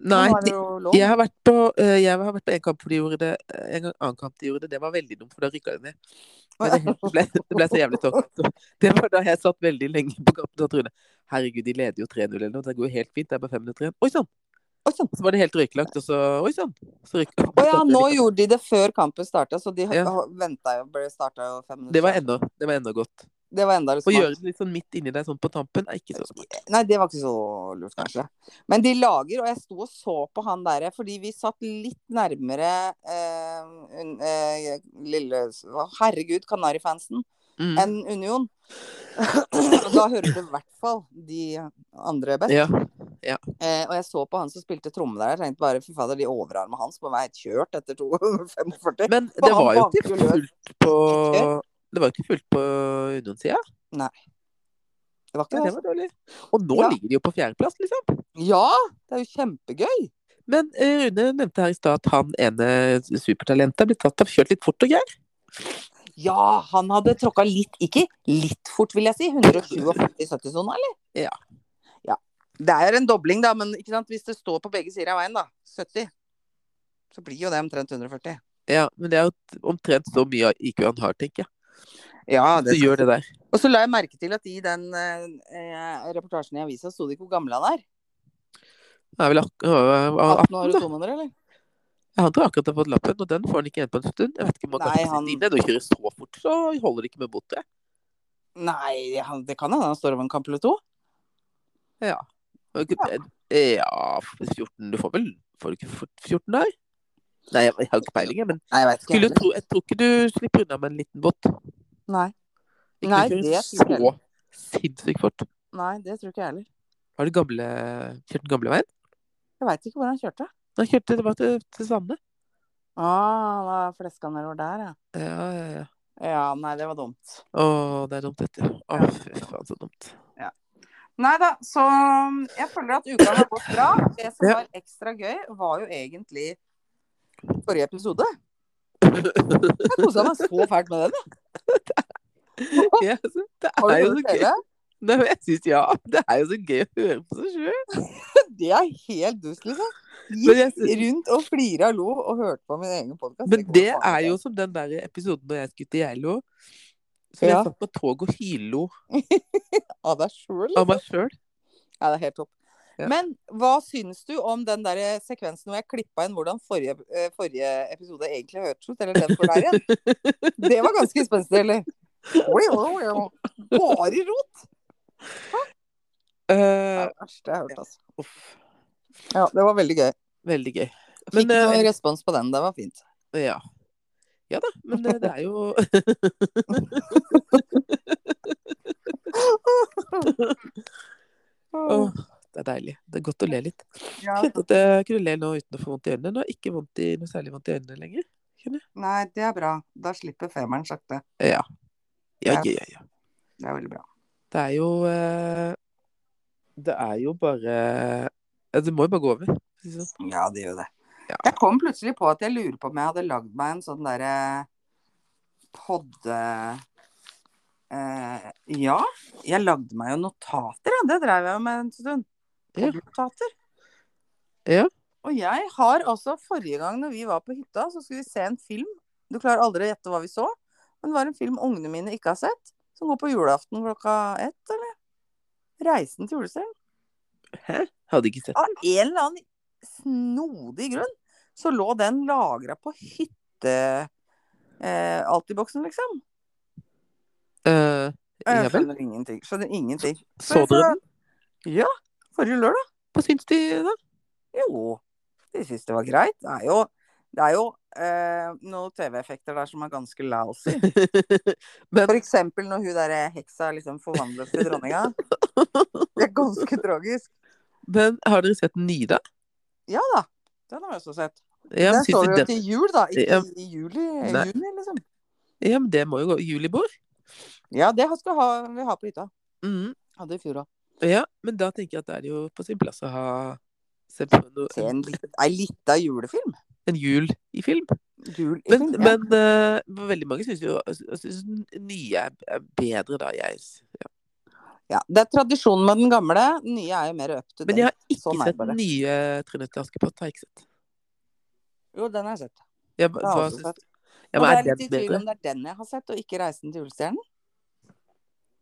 B: Nei,
A: nå er
B: de,
A: det jo lov.
B: jeg, har vært på, eh, jeg har vært på en kamp hvor de gjorde det, eh, en gang- annen kamp de gjorde det. Det var veldig dumt, for da rykka de ned. Men det,
A: [LAUGHS]
B: det, ble, det ble så jævlig tått. Det var da jeg satt veldig lenge på kampen og trodde herregud, de leder jo 3-0 eller noe. Det går jo helt fint. Det er bare fem minutter igjen. Oi sann!
A: Oi, sånn.
B: Så var det helt røyklagt, og så oi sann! Så røyk-
A: Å ja, nå
B: røyka-
A: gjorde de det før kampen starta, så de
B: Ja.
A: venta jo ble starta jo fem minutter.
B: Det var ennå, det var ennå godt.
A: det var enda litt
B: Å
A: smart.
B: gjøre det litt sånn midt inni deg, sånn på tampen, er ikke så smart.
A: Nei, det var ikke så lurt, kanskje. Men de lager, og jeg sto og så på han der, fordi vi satt litt nærmere eh, un, eh, lille hva- Herregud, Kanarifansen
B: Mm.
A: enn Union. Og da hører du i hvert fall de andre best.
B: Ja.
A: Eh, og jeg så på han som spilte tromme der, jeg tenkte bare fy fader, de overarmene hans må være kjørt etter [LAUGHS] 2,45.
B: Men
A: For
B: det
A: han
B: var jo ikke
A: banker jo løs.
B: fullt på
A: Ikke?
B: Det var jo ikke fullt på Union-sida.
A: Det var
B: Ja,
A: ikke
B: det
A: det.
B: var dårlig. Og nå
A: Ja.
B: ligger de jo på fjerdeplass, liksom.
A: Ja! Det er jo kjempegøy.
B: Men eh, Rune nevnte her i stad at han ene supertalentet er blitt tatt av kjørt litt fort og greier.
A: Ja, han hadde tråkka litt, ikke litt fort, vil jeg si. 147-70-sona, eller?
B: Ja.
A: ja. Det er en dobling, da, men ikke sant? hvis det står på begge sider av veien, da, 70, så blir jo det omtrent 140.
B: Ja, men det er jo omtrent så mye IQ han har, tenker jeg.
A: Ja,
B: Så gjør det der.
A: Og så la jeg merke til at i den eh, eh, reportasjen i avisa sto det ikke hvor gammel han er.
B: Han er vel ak øh, øh,
A: 18 år
B: 18,
A: og
B: da.
A: 2 måneder, eller?
B: Ja, Han tror akkurat han har fått lappen, og den får han ikke igjen på en stund. Jeg vet ikke om han
A: Nei,
B: kan
A: han-
B: sitte inne. Når du kjører så fort, så holder det ikke med bot, tror jeg.
A: Nei, han- det kan hende han står over en kamp eller to.
B: Ja, 14 Du får vel får du ikke fort 14 der? Nei, jeg jeg har ikke peiling, jeg, men
A: Nei, jeg veit
B: skulle du tro, jeg tror ikke du slipper unna med en liten båt.
A: Nei.
B: Ikke
A: Nei,
B: kjøre
A: det er
B: så
A: sikkert.
B: sinnssykt fort.
A: Nei, det tror ikke jeg heller.
B: Var det gamle, kjørt den gamle veien?
A: Jeg veit ikke hvor han kjørte.
B: Da kjørte det var til, til Sande.
A: Å, Ah, han var fleska nedover der, ja.
B: Ja, ja, ja.
A: Ja, nei, det var dumt.
B: Å, det er dumt, dette. Å, fy faen, så dumt.
A: Nei da, så um, jeg føler at uka har gått [CLEARS THROAT] bra. Det som
B: Ja.
A: var ekstra gøy, var jo egentlig forrige episode. Jeg kosa meg så fælt med den.
B: Ja, altså, det
A: Har
B: er
A: du
B: jo
A: hørt
B: så gøy.
A: hele?
B: Nei, men jeg synes, ja, det er jo så gøy å høre på seg sjøl.
A: Det er helt dust, liksom.
B: Men jeg
A: Gikk rundt og flira og lo og hørte på min egen podkast.
B: Men det er jo som den der episoden da jeg skulle til Geilo. Så jeg
A: Ja.
B: satt på tog og hylo
A: Av deg sjøl?
B: av meg sjøl.
A: Ja, det er helt topp.
B: Ja.
A: Men hva syns du om den der eh, sekvensen hvor jeg klippa inn hvordan forrige, eh, forrige episode egentlig hørtes ut? Eller den for der igjen?
B: [LAUGHS]
A: Det var ganske spenstig, eller? Oi, oi, oi. Bare rot! Det
B: Eh,
A: er det verste jeg har hørt, altså.
B: uff,
A: Ja, det var veldig gøy.
B: veldig gøy.
A: Fikk
B: Men,
A: noe
B: eh,
A: respons på den, det var fint.
B: Ja. Ja da, men eh, det er jo Åh, Det er deilig. Det er godt å le litt.
A: Ja,
B: Jeg kjente [LAUGHS] at jeg kunne le nå uten å få vondt i øynene. Nå har jeg ikke vondt i, noe særlig vondt i øynene lenger.
A: nei, det er bra. Da slipper femmeren sakte.
B: Ja. Ja,
A: Ja.
B: ja, ja. ja.
A: Det er veldig bra.
B: Det er jo eh, Det er jo bare ja, Det må jo bare gå over. for å si det sånn.
A: Ja, det gjør det.
B: Ja.
A: Jeg kom plutselig på at jeg lurer på om jeg hadde lagd meg en sånn derre podde... Eh, ja, jeg lagde meg jo notater, ja. det drev jeg jo med en stund.
B: Ja.
A: Podnotater.
B: Ja.
A: Og jeg har altså forrige gang når vi var på hytta, så skulle vi se en film. Du klarer aldri å gjette hva vi så, men det var en film ungene mine ikke har sett, som går på julaften klokka ett, eller? 'Reisen til julestjernen'.
B: Hæ? Hadde ikke sett
A: Av en eller annen snodig grunn så lå den lagra på hytte... Eh, Altiboksen, liksom.
B: Eh,
A: Jeg
B: Ja vel.
A: skjønner ingenting. Skjønner ingenting.
B: Så dere den?
A: Ja. Forrige lørdag.
B: Hva syns de, da? [LAUGHS]
A: Jo. De syntes det var greit. Det er jo, det er jo eh, noen TV-effekter der som er ganske
B: [LAUGHS]
A: lousy. For eksempel når hun derre heksa liksom forvandles til dronninga. Det er ganske tragisk.
B: Men har dere sett den nye, da?
A: Ja da. Den har jeg også sett.
B: Ja, men
A: den
B: syns
A: står
B: dere
A: jo
B: den?
A: til jul, da. Ikke
B: Ja.
A: i juli,
B: Nei.
A: juni, liksom.
B: Ja, men det må jo gå. Julibord?
A: Ja, det skal ha, vi ha på hytta.
B: Mhm.
A: Hadde i fjor òg.
B: Ja, men da tenker jeg at det er jo på sin plass å ha se på noe,
A: Se en lit- ei lita julefilm.
B: en jul i film.
A: Jul i
B: Men,
A: film. ja.
B: men eh, veldig mange syns jo altså, synes den nye er- er bedre, da. Jeg, s- ja.
A: Ja, det er tradisjonen med den gamle. Den nye er jo mer up to
B: Men jeg
A: date.
B: har ikke
A: Sånn er
B: sett
A: det bare.
B: den nye 'Tre nøtter til Askepott'. Har jeg ikke sett.
A: Jo, den har jeg sett.
B: Jeg,
A: Den har
B: hva
A: jeg også
B: syns-
A: sett.
B: ja,
A: Og
B: men
A: jeg
B: er
A: er litt i
B: den
A: tvil
B: bedre?
A: om det er den jeg har sett, og ikke 'Reisen til julestjernen'.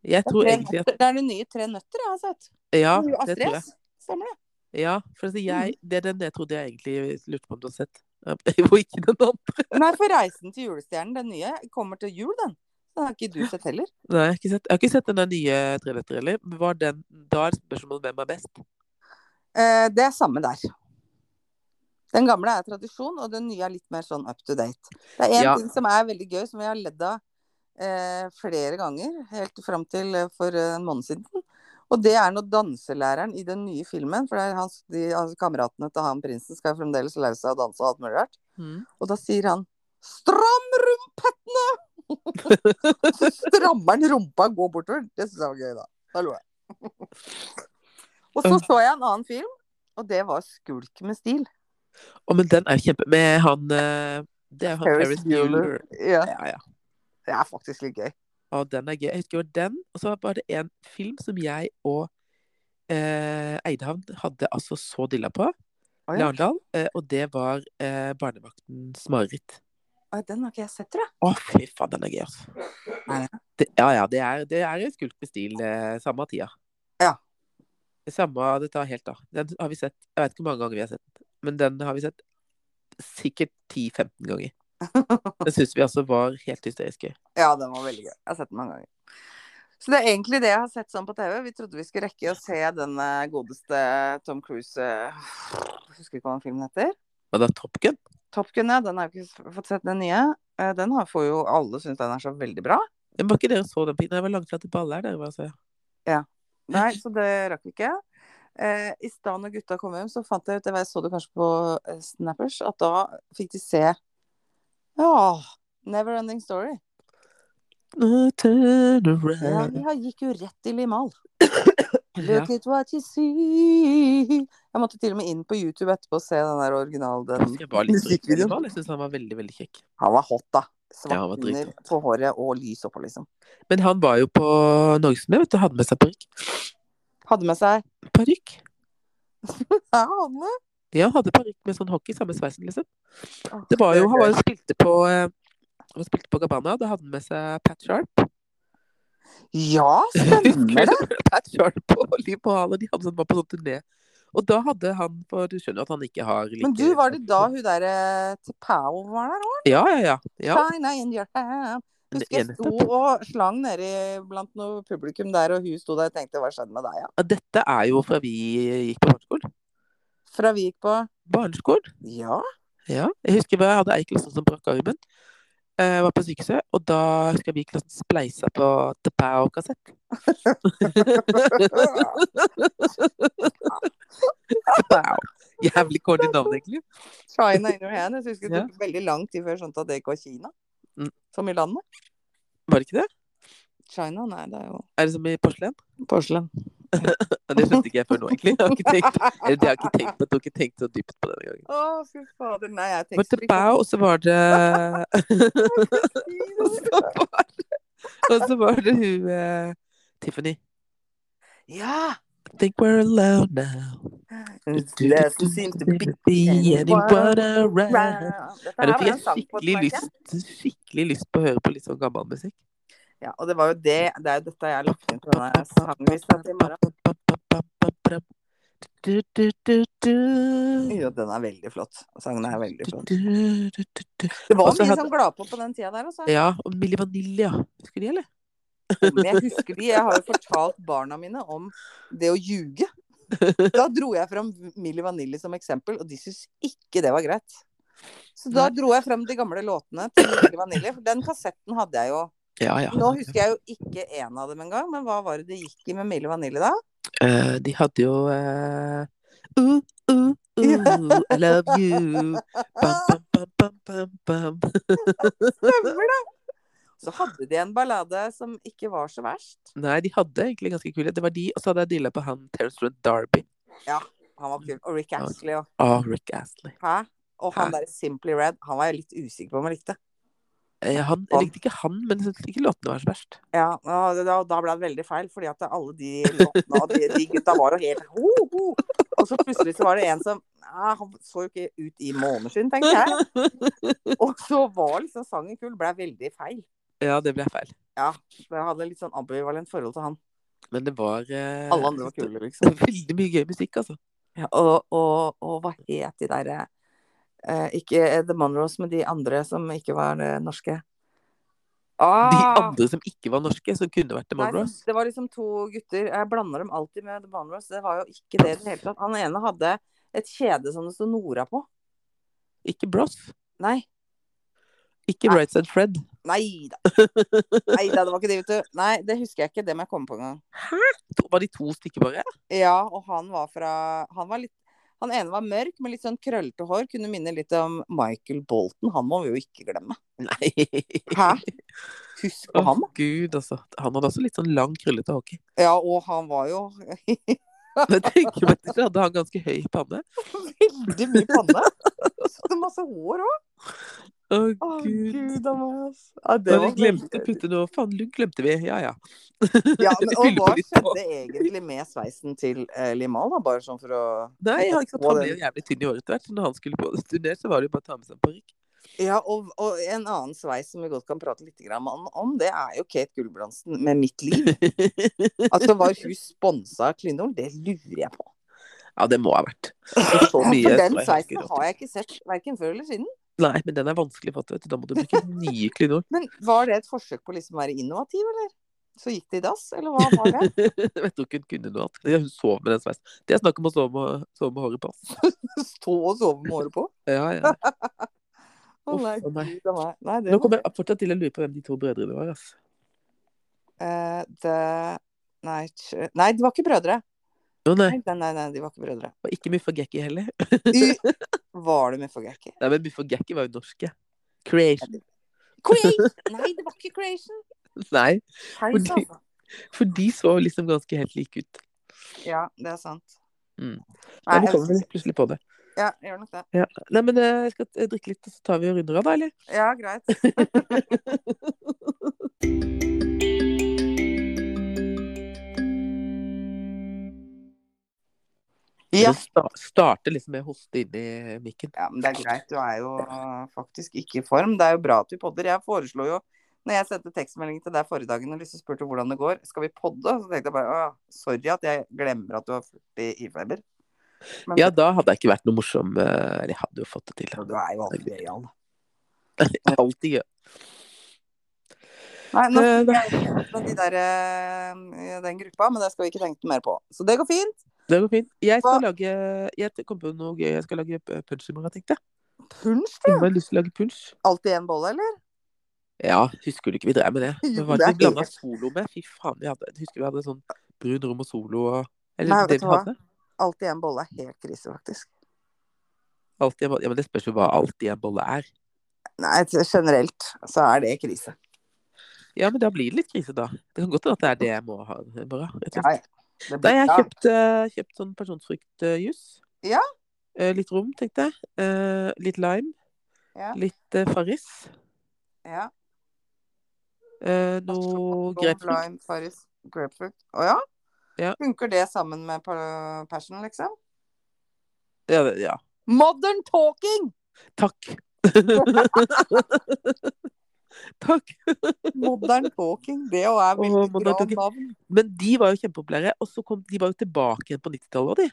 B: Jeg
A: Det er
B: tror
A: Tre
B: egentlig at
A: Nøtter- det er de nye 'Tre nøtter' jeg har sett.
B: Ja,
A: Med
B: det
A: Astrid Mm-hmm.
B: tror jeg.
A: S. Stemmer det?
B: Ja, for altså, jeg, det er den jeg trodde jeg egentlig lurte på om du har sett. [LAUGHS] Og ikke den andre.
A: Nei, for 'Reisen til julestjernen', den nye, kommer til jul, den. Den har ikke du sett heller.
B: Nei, jeg har ikke sett, jeg har ikke sett den der nye 'Tre nøtter' heller. Men Var den, da er spørsmålet hvem er best.
A: Eh, det er samme der. Den gamle er tradisjon, og den nye er litt mer sånn up to date. Det er én
B: Ja.
A: ting som er veldig gøy, som vi har ledd av eh, flere ganger, helt fram til eh, for eh, en måned siden. Og det er når danselæreren i den nye filmen, for det er hans, de, altså, kameratene til han prinsen skal fremdeles lære seg å danse og alt mulig rart,
B: Mhm.
A: og da sier han 'stram rumpettene'! [LAUGHS] Så strammer han rumpa og går bortover. Det syns jeg var gøy, da. Da lo jeg. [LAUGHS] Og så så jeg en annen film, og det var 'Skulk med stil'.
B: Å, men den er jo kjempe... Med han eh, Det er jo han
A: Ferris
B: Ferris
A: Bueller.
B: Bueller.
A: Ja,
B: Ja, ja.
A: det er faktisk litt gøy.
B: Å, den er gøy. Jeg husker jo den. Og så var det en film som jeg og eh, Eidhavn hadde altså så dilla på.
A: Å, ja.
B: Larendal. Eh, og det var eh, Barnevaktens mareritt.
A: Å, Den har ikke jeg sett, tror jeg.
B: Å, fy faen, den er gøy, altså.
A: Er det?
B: Det, ja, ja. Det er, det er en skulk med stil, eh, samme tida.
A: Ja.
B: Det samme Det tar helt av. Den har vi sett Jeg vet ikke hvor mange ganger vi har sett den, men den har vi sett sikkert 10-15 [LAUGHS] ganger. Den syns vi altså var helt hysterisk gøy.
A: Ja, den var veldig gøy. Jeg har sett den mange ganger. Så det er egentlig det jeg har sett sånn på TV. Vi trodde vi skulle rekke å se den eh, godeste Tom Cruise eh, [SIGHS] Jeg husker ikke hva den filmen heter.
B: Men det er Top Gun.
A: Top Gun, ja. Den har jeg ikke s- fått sett, den nye. Eh, Den har, får jo alle syns den er så veldig bra.
B: Men var ikke dere så den på Det var langt fra til baller dere var og så. [LAUGHS]
A: Nei, så det rakk vi ikke. Eh, I stad når gutta kom hjem, så fant jeg ut det var- Jeg så det kanskje på eh, Snappers, at da fikk de se Ja, Neverending Story.
B: No, turn
A: Ja,
B: around.
A: vi har- gikk jo rett i limal.
B: Ja.
A: Look at what you see. Jeg måtte til og med inn på YouTube etterpå og se den der original, den
B: Jeg var litt trist.
A: musikkvideoen.
B: Jeg syns han var veldig, veldig kjekk.
A: Han var hot, da.
B: Ja, han var
A: Svart under på håret og lys oppå, liksom.
B: Men han var jo på Norgesturné, vet du. Hadde med seg parykk.
A: Hadde med seg
B: Parykk?
A: Ja, hadde med.
B: Ja, han hadde parykk med sånn hockey, samme sveisen, liksom. Det var jo, Han var jo spilte på eh, han spilte på Gabbana, da hadde han med seg Pat Sharp.
A: Ja, [LAUGHS]
B: [LAUGHS]
A: stemmer det!
B: Pat Sharp og Liv Hall, og de hadde sånn, var på sånn turné. Og da hadde han for Du skjønner at han ikke har like
A: Men du, var det da hun derre Tipao var der òg?
B: Ja, ja, ja. ja.
A: China in your hand.
B: Det
A: Husker jeg
B: ene
A: sto og slang nedi blant noe publikum der, og hun sto der og tenkte hva skjedde med deg, ja?
B: Ja, Dette er jo fra vi gikk på barneskolen.
A: Fra vi gikk på
B: Barneskolen?
A: Ja.
B: Ja. Jeg husker jeg hadde ei i klassen som brakk armen. Jeg var på sykehuset, og da husker jeg vi i klassen spleisa på Tapao-kassett. Tapao. Jævlig corny navn, egentlig.
A: [LAUGHS] China in your hand. Jeg husker det
B: Ja.
A: tok veldig lang tid før jeg skjønte at det ikke var Kina.
B: Mm.
A: Som i landet.
B: Var det ikke det?
A: China, nei, det er jo
B: Er det som i porselen?
A: porselen.
B: Ja, Det skjønte ikke jeg før nå, egentlig. Jeg har ikke tenkt, eller, jeg har ikke tenkt, jeg har ikke tenkt så dypt på det denne gangen.
A: [LAUGHS] Å, fy fader. Nei, jeg
B: Det var
A: tenker
B: Tapao, og så var det Og så var det, og så var det hun eh, Tiffany.
A: Ja!
B: I think we're alone now.
A: It doesn't seem to be anyone
B: around. [LAUGHS]
A: around. Dette her
B: Er det
A: var en
B: fordi jeg
A: sang på
B: skikkelig
A: sparket.
B: lyst, skikkelig lyst på å høre på litt sånn gammel musikk?
A: Ja, og det var jo det Det er jo dette jeg har lagt inn på denne sanglista til i morgen.
B: Du, du, du, du.
A: Jo, den er veldig flott. Sangen er veldig
B: Du,
A: flott.
B: du, du, du, du.
A: Det var
B: Også
A: mye
B: hadde-
A: som gladpå på den tida der, altså.
B: Ja, og Milli Vanilli, ja. Husker de, eller?
A: Men jeg husker de. Jeg har jo fortalt barna mine om det å ljuge. Da dro jeg fram Milli Vanilli som eksempel, og de syntes ikke det var greit. Så da dro jeg frem de gamle låtene til Milli Vanilli, for den kassetten hadde jeg jo.
B: Ja, ja.
A: Nå husker jeg jo ikke en av dem engang, men hva var det det gikk i med Milli Vanilli da?
B: Eh, de hadde jo eh, Ooh, ooh, ooh, uh, I love you. Bam, bam, bam, bam, bam, bam.
A: Stemmer det! Så hadde de en ballade som ikke var så verst.
B: Nei, de hadde egentlig ganske kule. Det var de, og så hadde jeg deala på han Terence Runt Derby.
A: Han var kul. Og Rick Ashley og
B: Ah, Rick Astley.
A: Hæ? Og han
B: Hæ?
A: derre Simply Red, han var jeg litt usikker på om jeg likte.
B: Eh, han, jeg likte ikke han, men jeg syntes ikke låtene var så verst.
A: Ja, og det- da, da ble det veldig feil, fordi at alle de låtene og de, de gutta var jo helt ho, ho. Og så plutselig så var det en som ja, Han så jo ikke ut i måneskinn, tenkte jeg. Og så var liksom sangen kul. Ble veldig feil.
B: Ja, det ble feil.
A: Så Jeg hadde litt sånn ambivalent forhold til han.
B: Men det var eh,
A: Alle andre var kule,
B: det
A: liksom.
B: var Veldig mye gøy musikk, altså.
A: Ja, og, og, og hva het de derre eh, Ikke The Monroes, men de andre som ikke var eh, norske. Ah,
B: De andre som ikke var norske, som kunne vært The
A: Nei,
B: Monroes.
A: det var liksom to gutter. Jeg blander dem alltid med The Monroes. Det var jo ikke det i det hele tatt. Han ene hadde et kjede som det sto Nora på.
B: Ikke Bros.
A: Nei.
B: Ikke
A: Nei.
B: Right Side Fred.
A: Nei da. Nei da, det var ikke det, vet du. Nei, det husker jeg ikke. Det må jeg komme på en gang.
B: To- Var de to stykker
A: [LAUGHS]
B: bare?
A: Ja, og han var fra Han var litt han ene var mørk med litt sånn krøllete hår. Kunne minne litt om Michael Bolton. Han må vi jo ikke glemme.
B: Nei.
A: Hæ? [LAUGHS] Husk på
B: Å,
A: han, da.
B: Gud, altså. Han hadde også litt sånn lang, krøllete hockey.
A: Ja, og han var jo
B: Jeg tenker meg at hadde han ganske høy panne.
A: veldig mye panne. Så masse hår òg.
B: Å,
A: Å,
B: Gud.
A: gud a meg, altså. Ja, det
B: Men vi
A: var
B: glemte
A: veldig-
B: å putte noe Faen, Lund glemte vi. Ja, ja. [LAUGHS]
A: Ja, men,
B: Vi
A: og
B: fyller på
A: hva
B: litt på.
A: skjedde egentlig med sveisen til eh, Limal, da? Bare sånn for å
B: Nei, han, ikke
A: Og
B: sant, han
A: den-
B: ble jo jævlig tynn i håret etter hvert, så når han skulle på turné, så var det jo bare å ta med seg en parykk.
A: Ja, og, og en annen sveis som vi godt kan prate litt grann om, om, det er jo Kate Gulbrandsen med Mitt
B: [LAUGHS]
A: liv. Altså, var hun sponsa av Klinol? Det lurer jeg på.
B: Ja, det må ha vært. Så
A: For
B: mye
A: den
B: sveis
A: sveisen
B: ikke rått.
A: har jeg ikke sett verken før eller siden.
B: Nei, men
A: [LAUGHS]
B: den er vanskelig å få til, vet du. Da må du bruke nye klinor.
A: Men var det et forsøk på liksom å være innovativ, eller? Så gikk det i dass, eller hva var det? [LAUGHS]
B: [LAUGHS] Jeg vet ikke hun kunne noe annet. Ja, Hun sov med den sveisen. Det er snakk om å sove med, sove med håret på.
A: [LAUGHS]
B: ass.
A: Stå og sove med håret på?
B: Ja, ja.
A: Å
B: Uff,
A: nei,
B: å nei.
A: gud a meg. Nei, det
B: Nå
A: var
B: kommer jeg fortsatt til å lure på hvem de to brødrene var. ass.
A: eh, det... Nei, tj- nei, de var ikke brødre.
B: Å nei,
A: Nei, nei, nei, de var ikke brødre.
B: det var ikke Muff og Gekki heller.
A: Y var det Muff og Gekki?
B: Nei, men Muff og Gekki var jo norske. Creation.
A: Creation! Nei, det var ikke Creation.
B: Nei,
A: Heis,
B: [LAUGHS] Fordi-
A: altså.
B: for de så liksom ganske helt like ut.
A: Ja, det er sant.
B: Mm.
A: Nei,
B: Nei, nå
A: jeg
B: kommer
A: vet
B: vi plutselig på det.
A: ikke. Ja, gjør nok det.
B: Ja. Nei, men eh, jeg skal eh, drikke litt, og så tar vi og runder av, da, eller?
A: Ja, [LAUGHS] greit. Ja.
B: Eller sta- Starte liksom med å hoste inn i mikken.
A: ja, men det er greit. Du er jo eh, faktisk ikke i form. Det er jo bra at vi podder. Jeg foreslo jo, når jeg sendte tekstmelding til deg forrige dagen og liksom spurte hvordan det går, skal vi podde? Så tenkte jeg bare «Åh, sorry at jeg glemmer at du har 40 i-feber. Men
B: Ja, da hadde jeg ikke vært noe morsom. eh, Eller jeg hadde jo fått det til.
A: du er jo aldri gøyal.
B: Alltid gøy.
A: Nei, nå
B: Eh,
A: skal jeg ut med de der, eh, i den gruppa, men det skal vi ikke tenke mer på. Så det går fint.
B: Det går fint. Jeg skal
A: Hva-
B: lage Jeg kom på noe gøy. Jeg skal lage eh, punch i morgen, tenkte jeg.
A: Punsj, du.
B: Innmari lyst til å lage punch.
A: Alltid én bolle, eller?
B: Ja, husker du ikke vi drev med det?
A: Jo,
B: Det var
A: det
B: det
A: er
B: vi blanda
A: helt-
B: solo med. Fy faen, vi hadde Husker vi hadde sånn brun rom og solo og Eller
A: Nei, vet
B: det
A: du
B: vi
A: hva?
B: hadde.
A: Alltid én bolle er helt krise, faktisk.
B: Alltid, en bolle- ja, men det spørs jo hva alltid en bolle er.
A: Nei, t- generelt så er det krise.
B: Ja, men da blir det litt krise, da. Det kan godt hende at det er det jeg må ha i morgen. rett og slett.
A: Ja, ja. Det
B: Da har jeg
A: ja.
B: kjøpt, eh, kjøpt sånn personsfruktjus.
A: Ja.
B: Eh, litt rom, tenkte jeg. Eh, litt lime.
A: Ja.
B: Litt eh, Farris.
A: Ja.
B: Eh, noe grapefrukt.
A: Lime, Farris, grapefruit. Å ja?
B: Ja.
A: Funker det sammen med pa- passion, liksom?
B: Ja, det- ja.
A: Modern
B: [LAUGHS]
A: talking!
B: Takk. Takk.
A: Modern talking, det òg er veldig
B: Åh, modern
A: bra
B: talking.
A: navn.
B: Men de var jo kjempeopplære. Og så kom de var jo tilbake igjen på 90-tallet òg, de.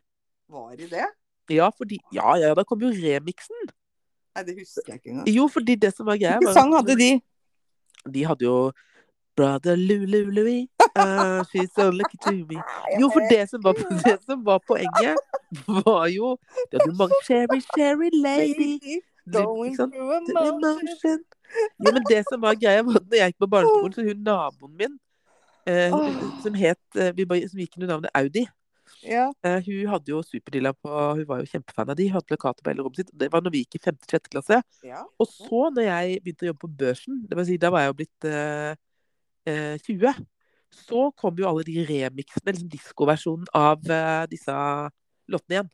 A: Var det det?
B: Ja, fordi, ja, ja, da kom jo remixen.
A: Nei, det husker jeg ikke engang.
B: Jo, fordi det som var greia
A: Hvilken sang hadde de?
B: De hadde jo Brother Lulu Louie, uh, she's so lucky to me. Jo, for det som var,
A: Eh,
B: det som var poenget, var jo Det hadde jo mange Sherry, Sherry lady
A: Going
B: ikke sant?
A: through
B: The
A: emotion.
B: sånn emotion. Jo, men det som var greia, var at når jeg gikk på barneskolen, så hun naboen min, eh,
A: Åh.
B: som het eh, vi bare- Som gikk under navnet Audi,
A: Ja.
B: eh, hun hadde jo superdilla på Hun var jo kjempefan av de, hun hadde plakater på hele rommet sitt. og Det var når vi gikk i 5.-6. klasse.
A: ja.
B: Og så, når jeg begynte å jobbe på børsen, det vil si, da var jeg jo blitt eh, eh, 20, så kom jo alle de remixene, liksom diskoversjonen av eh, disse låtene igjen.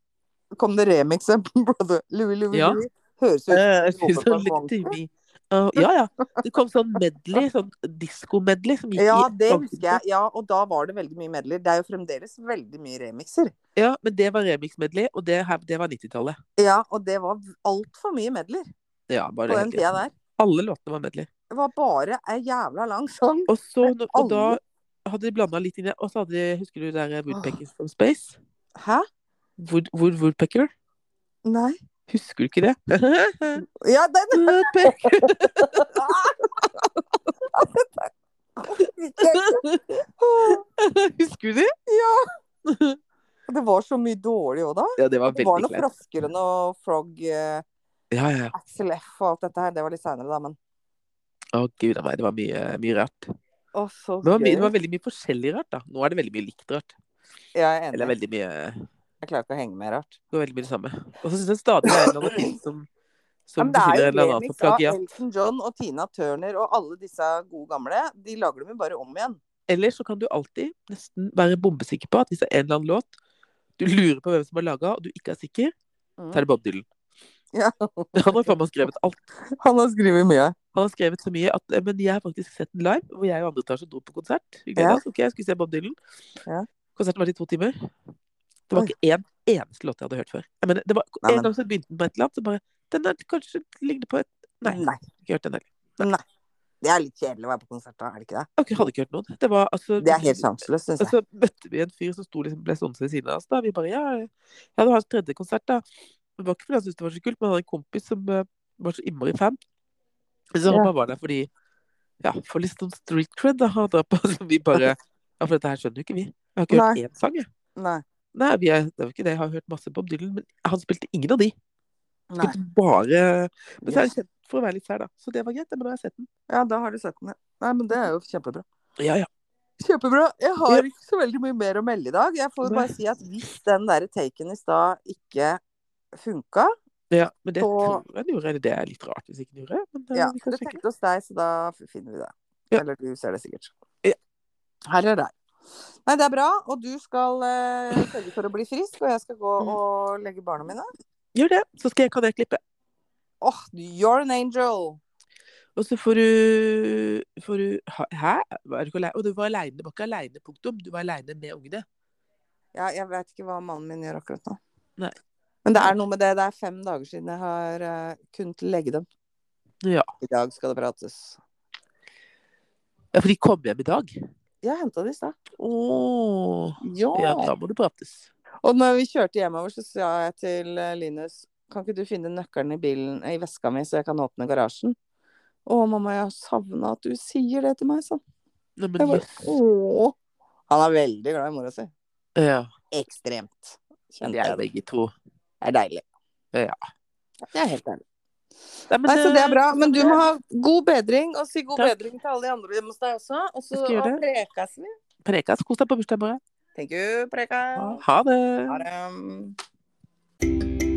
A: Kom det remixer? [LAUGHS] Brother Louie Louie
B: Ja.
A: Louie? Høres ut
B: Eh, [LAUGHS]
A: som du
B: synes
A: jobber
B: jeg
A: på en
B: likte
A: bank.
B: vi. Eh, ja, ja. Det kom sånn medley, sånn disko-medley som gikk
A: Ja,
B: i
A: det husker jeg. Ja, og da var det veldig mye medler. Det er jo fremdeles veldig mye remixer.
B: Ja, men det var remix-medley, og det, her, det var 90-tallet.
A: Ja, og det var altfor mye medler
B: Ja,
A: på
B: bare
A: den
B: helt
A: tida
B: igjen.
A: der.
B: Alle låtene var medley.
A: Det var bare ei jævla lang sang.
B: Og, så,
A: Men
B: når- og da
A: alle-
B: hadde de blanda litt inn i Og så hadde de, husker du det der Woodpeckers from Space?
A: Hæ?
B: Wood, wood, woodpecker?
A: Nei.
B: Husker du ikke det? [LAUGHS]
A: Ja, den
B: Woodpecker. Husker du det?
A: Det var så mye dårlig òg da.
B: Ja, det var
A: Det var
B: veldig
A: noe
B: kleint.
A: Froskeren og Frog, eh,
B: Ja, ja. ja.
A: Axel F og alt dette her. Det var litt seinere, da, men
B: Å, gud a meg, det var mye, mye rart. Det
A: Å, så
B: var, mye,
A: gøy.
B: det var veldig mye forskjellig rart, da. Nå er det veldig mye likt rart.
A: Jeg er
B: Eller
A: enig.
B: veldig mye
A: Jeg klarer ikke å henge med rart.
B: Det var veldig mye det samme. Og så syns jeg stadig det er en eller annen ting som,
A: Ja,
B: som
A: men det er
B: beskylder
A: jo
B: en eller annen
A: remix
B: for
A: av
B: plagiat.
A: Elton John og Tina Turner og alle disse gode gamle. De lager dem jo bare om igjen.
B: Eller så kan du alltid nesten være bombesikker på at hvis det er en eller annen låt du lurer på hvem som har laga, og du ikke er sikker,
A: Mm.
B: så er det Bob Dylan.
A: Ja.
B: [LAUGHS] Han har faen meg skrevet alt.
A: Han har skrevet mye.
B: Han har skrevet så mye at eh, Men jeg har faktisk sett den live, hvor jeg og andre etasje dro på konsert. Vi gleda
A: Ja.
B: oss. Ok, jeg skulle se Bob Dylan.
A: Ja.
B: Konserten var i to timer. Det var
A: Oi.
B: ikke én eneste låt jeg hadde hørt før. Jeg mener, det var
A: Nei, men-
B: En gang så begynte den på et eller annet, så bare Den der kanskje ligner på et Nei, jeg har ikke hørt den heller.
A: Det er litt kjedelig å være på konsert da, er det ikke det?
B: Ok, hadde ikke hørt noen. Det var altså
A: Det er helt sjanseløst, syns jeg.
B: Og så møtte vi en fyr som sto liksom ble sånn ved siden av oss. da. Vi bare ja, ja, det var hans tredje konsert, da. Det var ikke fordi han syntes det var så kult, men han hadde en kompis som eh, var så innmari fan. Så han
A: Ja.
B: bare var der fordi Ja, få litt sånn street cred da, ha det på, [LAUGHS] som vi bare Ja, for dette her skjønner jo ikke vi. Jeg har ikke hørt
A: Nei.
B: én sang, jeg.
A: Nei.
B: Nei, vi er, det er jo ikke det. Jeg har hørt masse Bob Dylan, men han spilte ingen av de. Han
A: Nei.
B: Spilte bare Men så er han kjent for å være litt sær, da. Så det var greit, det, men nå har jeg sett den.
A: Ja, da har du sett den. ja. Nei, men det er jo kjempebra.
B: Ja, ja.
A: Kjempebra. Jeg
B: Ja.
A: har ikke så veldig mye mer å melde i dag. Jeg får
B: Nei.
A: bare si at hvis den der taken i stad ikke funka
B: Ja, men det
A: Og-
B: tror jeg den gjorde. Eller det er litt rart hvis ikke den gjorde. Men eh,
A: Ja,
B: vi kan
A: det
B: sjekke.
A: tenkte hos deg, så da finner vi det.
B: Ja.
A: Eller du ser det sikkert.
B: Ja.
A: Her er der. Nei, det er bra. Og du skal eh, sørge for å bli frisk, og jeg skal gå
B: Mm.
A: og legge barna mine.
B: Gjør det, så skal jeg, kan jeg klippe.
A: Åh, you're an angel!
B: Og så får du, får du ha- Hæ? Var du ikke alene? Og du var aleine. Du var ikke aleine, punktum. Du var aleine med ungene.
A: Ja, jeg vet ikke hva mannen min gjør akkurat nå.
B: Nei.
A: Men det er noe med det. Det er fem dager siden jeg har eh, kunnet legge dem.
B: Ja.
A: I dag skal det prates.
B: Ja, for de kom hjem i dag.
A: Jeg henta de i stad.
B: Åh.
A: Ja.
B: Ja, da må det prates.
A: Og når vi kjørte hjemover, så sa jeg til eh, Linus Kan ikke du finne nøkkelen i bilen eh, i veska mi, så jeg kan åpne garasjen? Å, mamma, jeg har savna at du sier det til meg, sånn.
B: Nei, men
A: Jeg bare,
B: jøss.
A: Åh. Han er veldig glad i mora si.
B: Ja,
A: Ekstremt.
B: de
A: Kjente
B: er
A: jeg
B: jo
A: det.
B: begge to.
A: Det er deilig.
B: Ja.
A: Det er helt deilig.
B: Nei, men, eh,
A: Nei, så det er bra. Men du
B: det-
A: må ha god bedring, og si god
B: Takk.
A: bedring til alle de andre hjemme hos deg også. Og
B: Jeg
A: så
B: skal gjøre
A: og prekes vi.
B: Prekas, kos deg på bursdagen vår.
A: Thank you, prekas.
B: Ha det.
A: Ha det.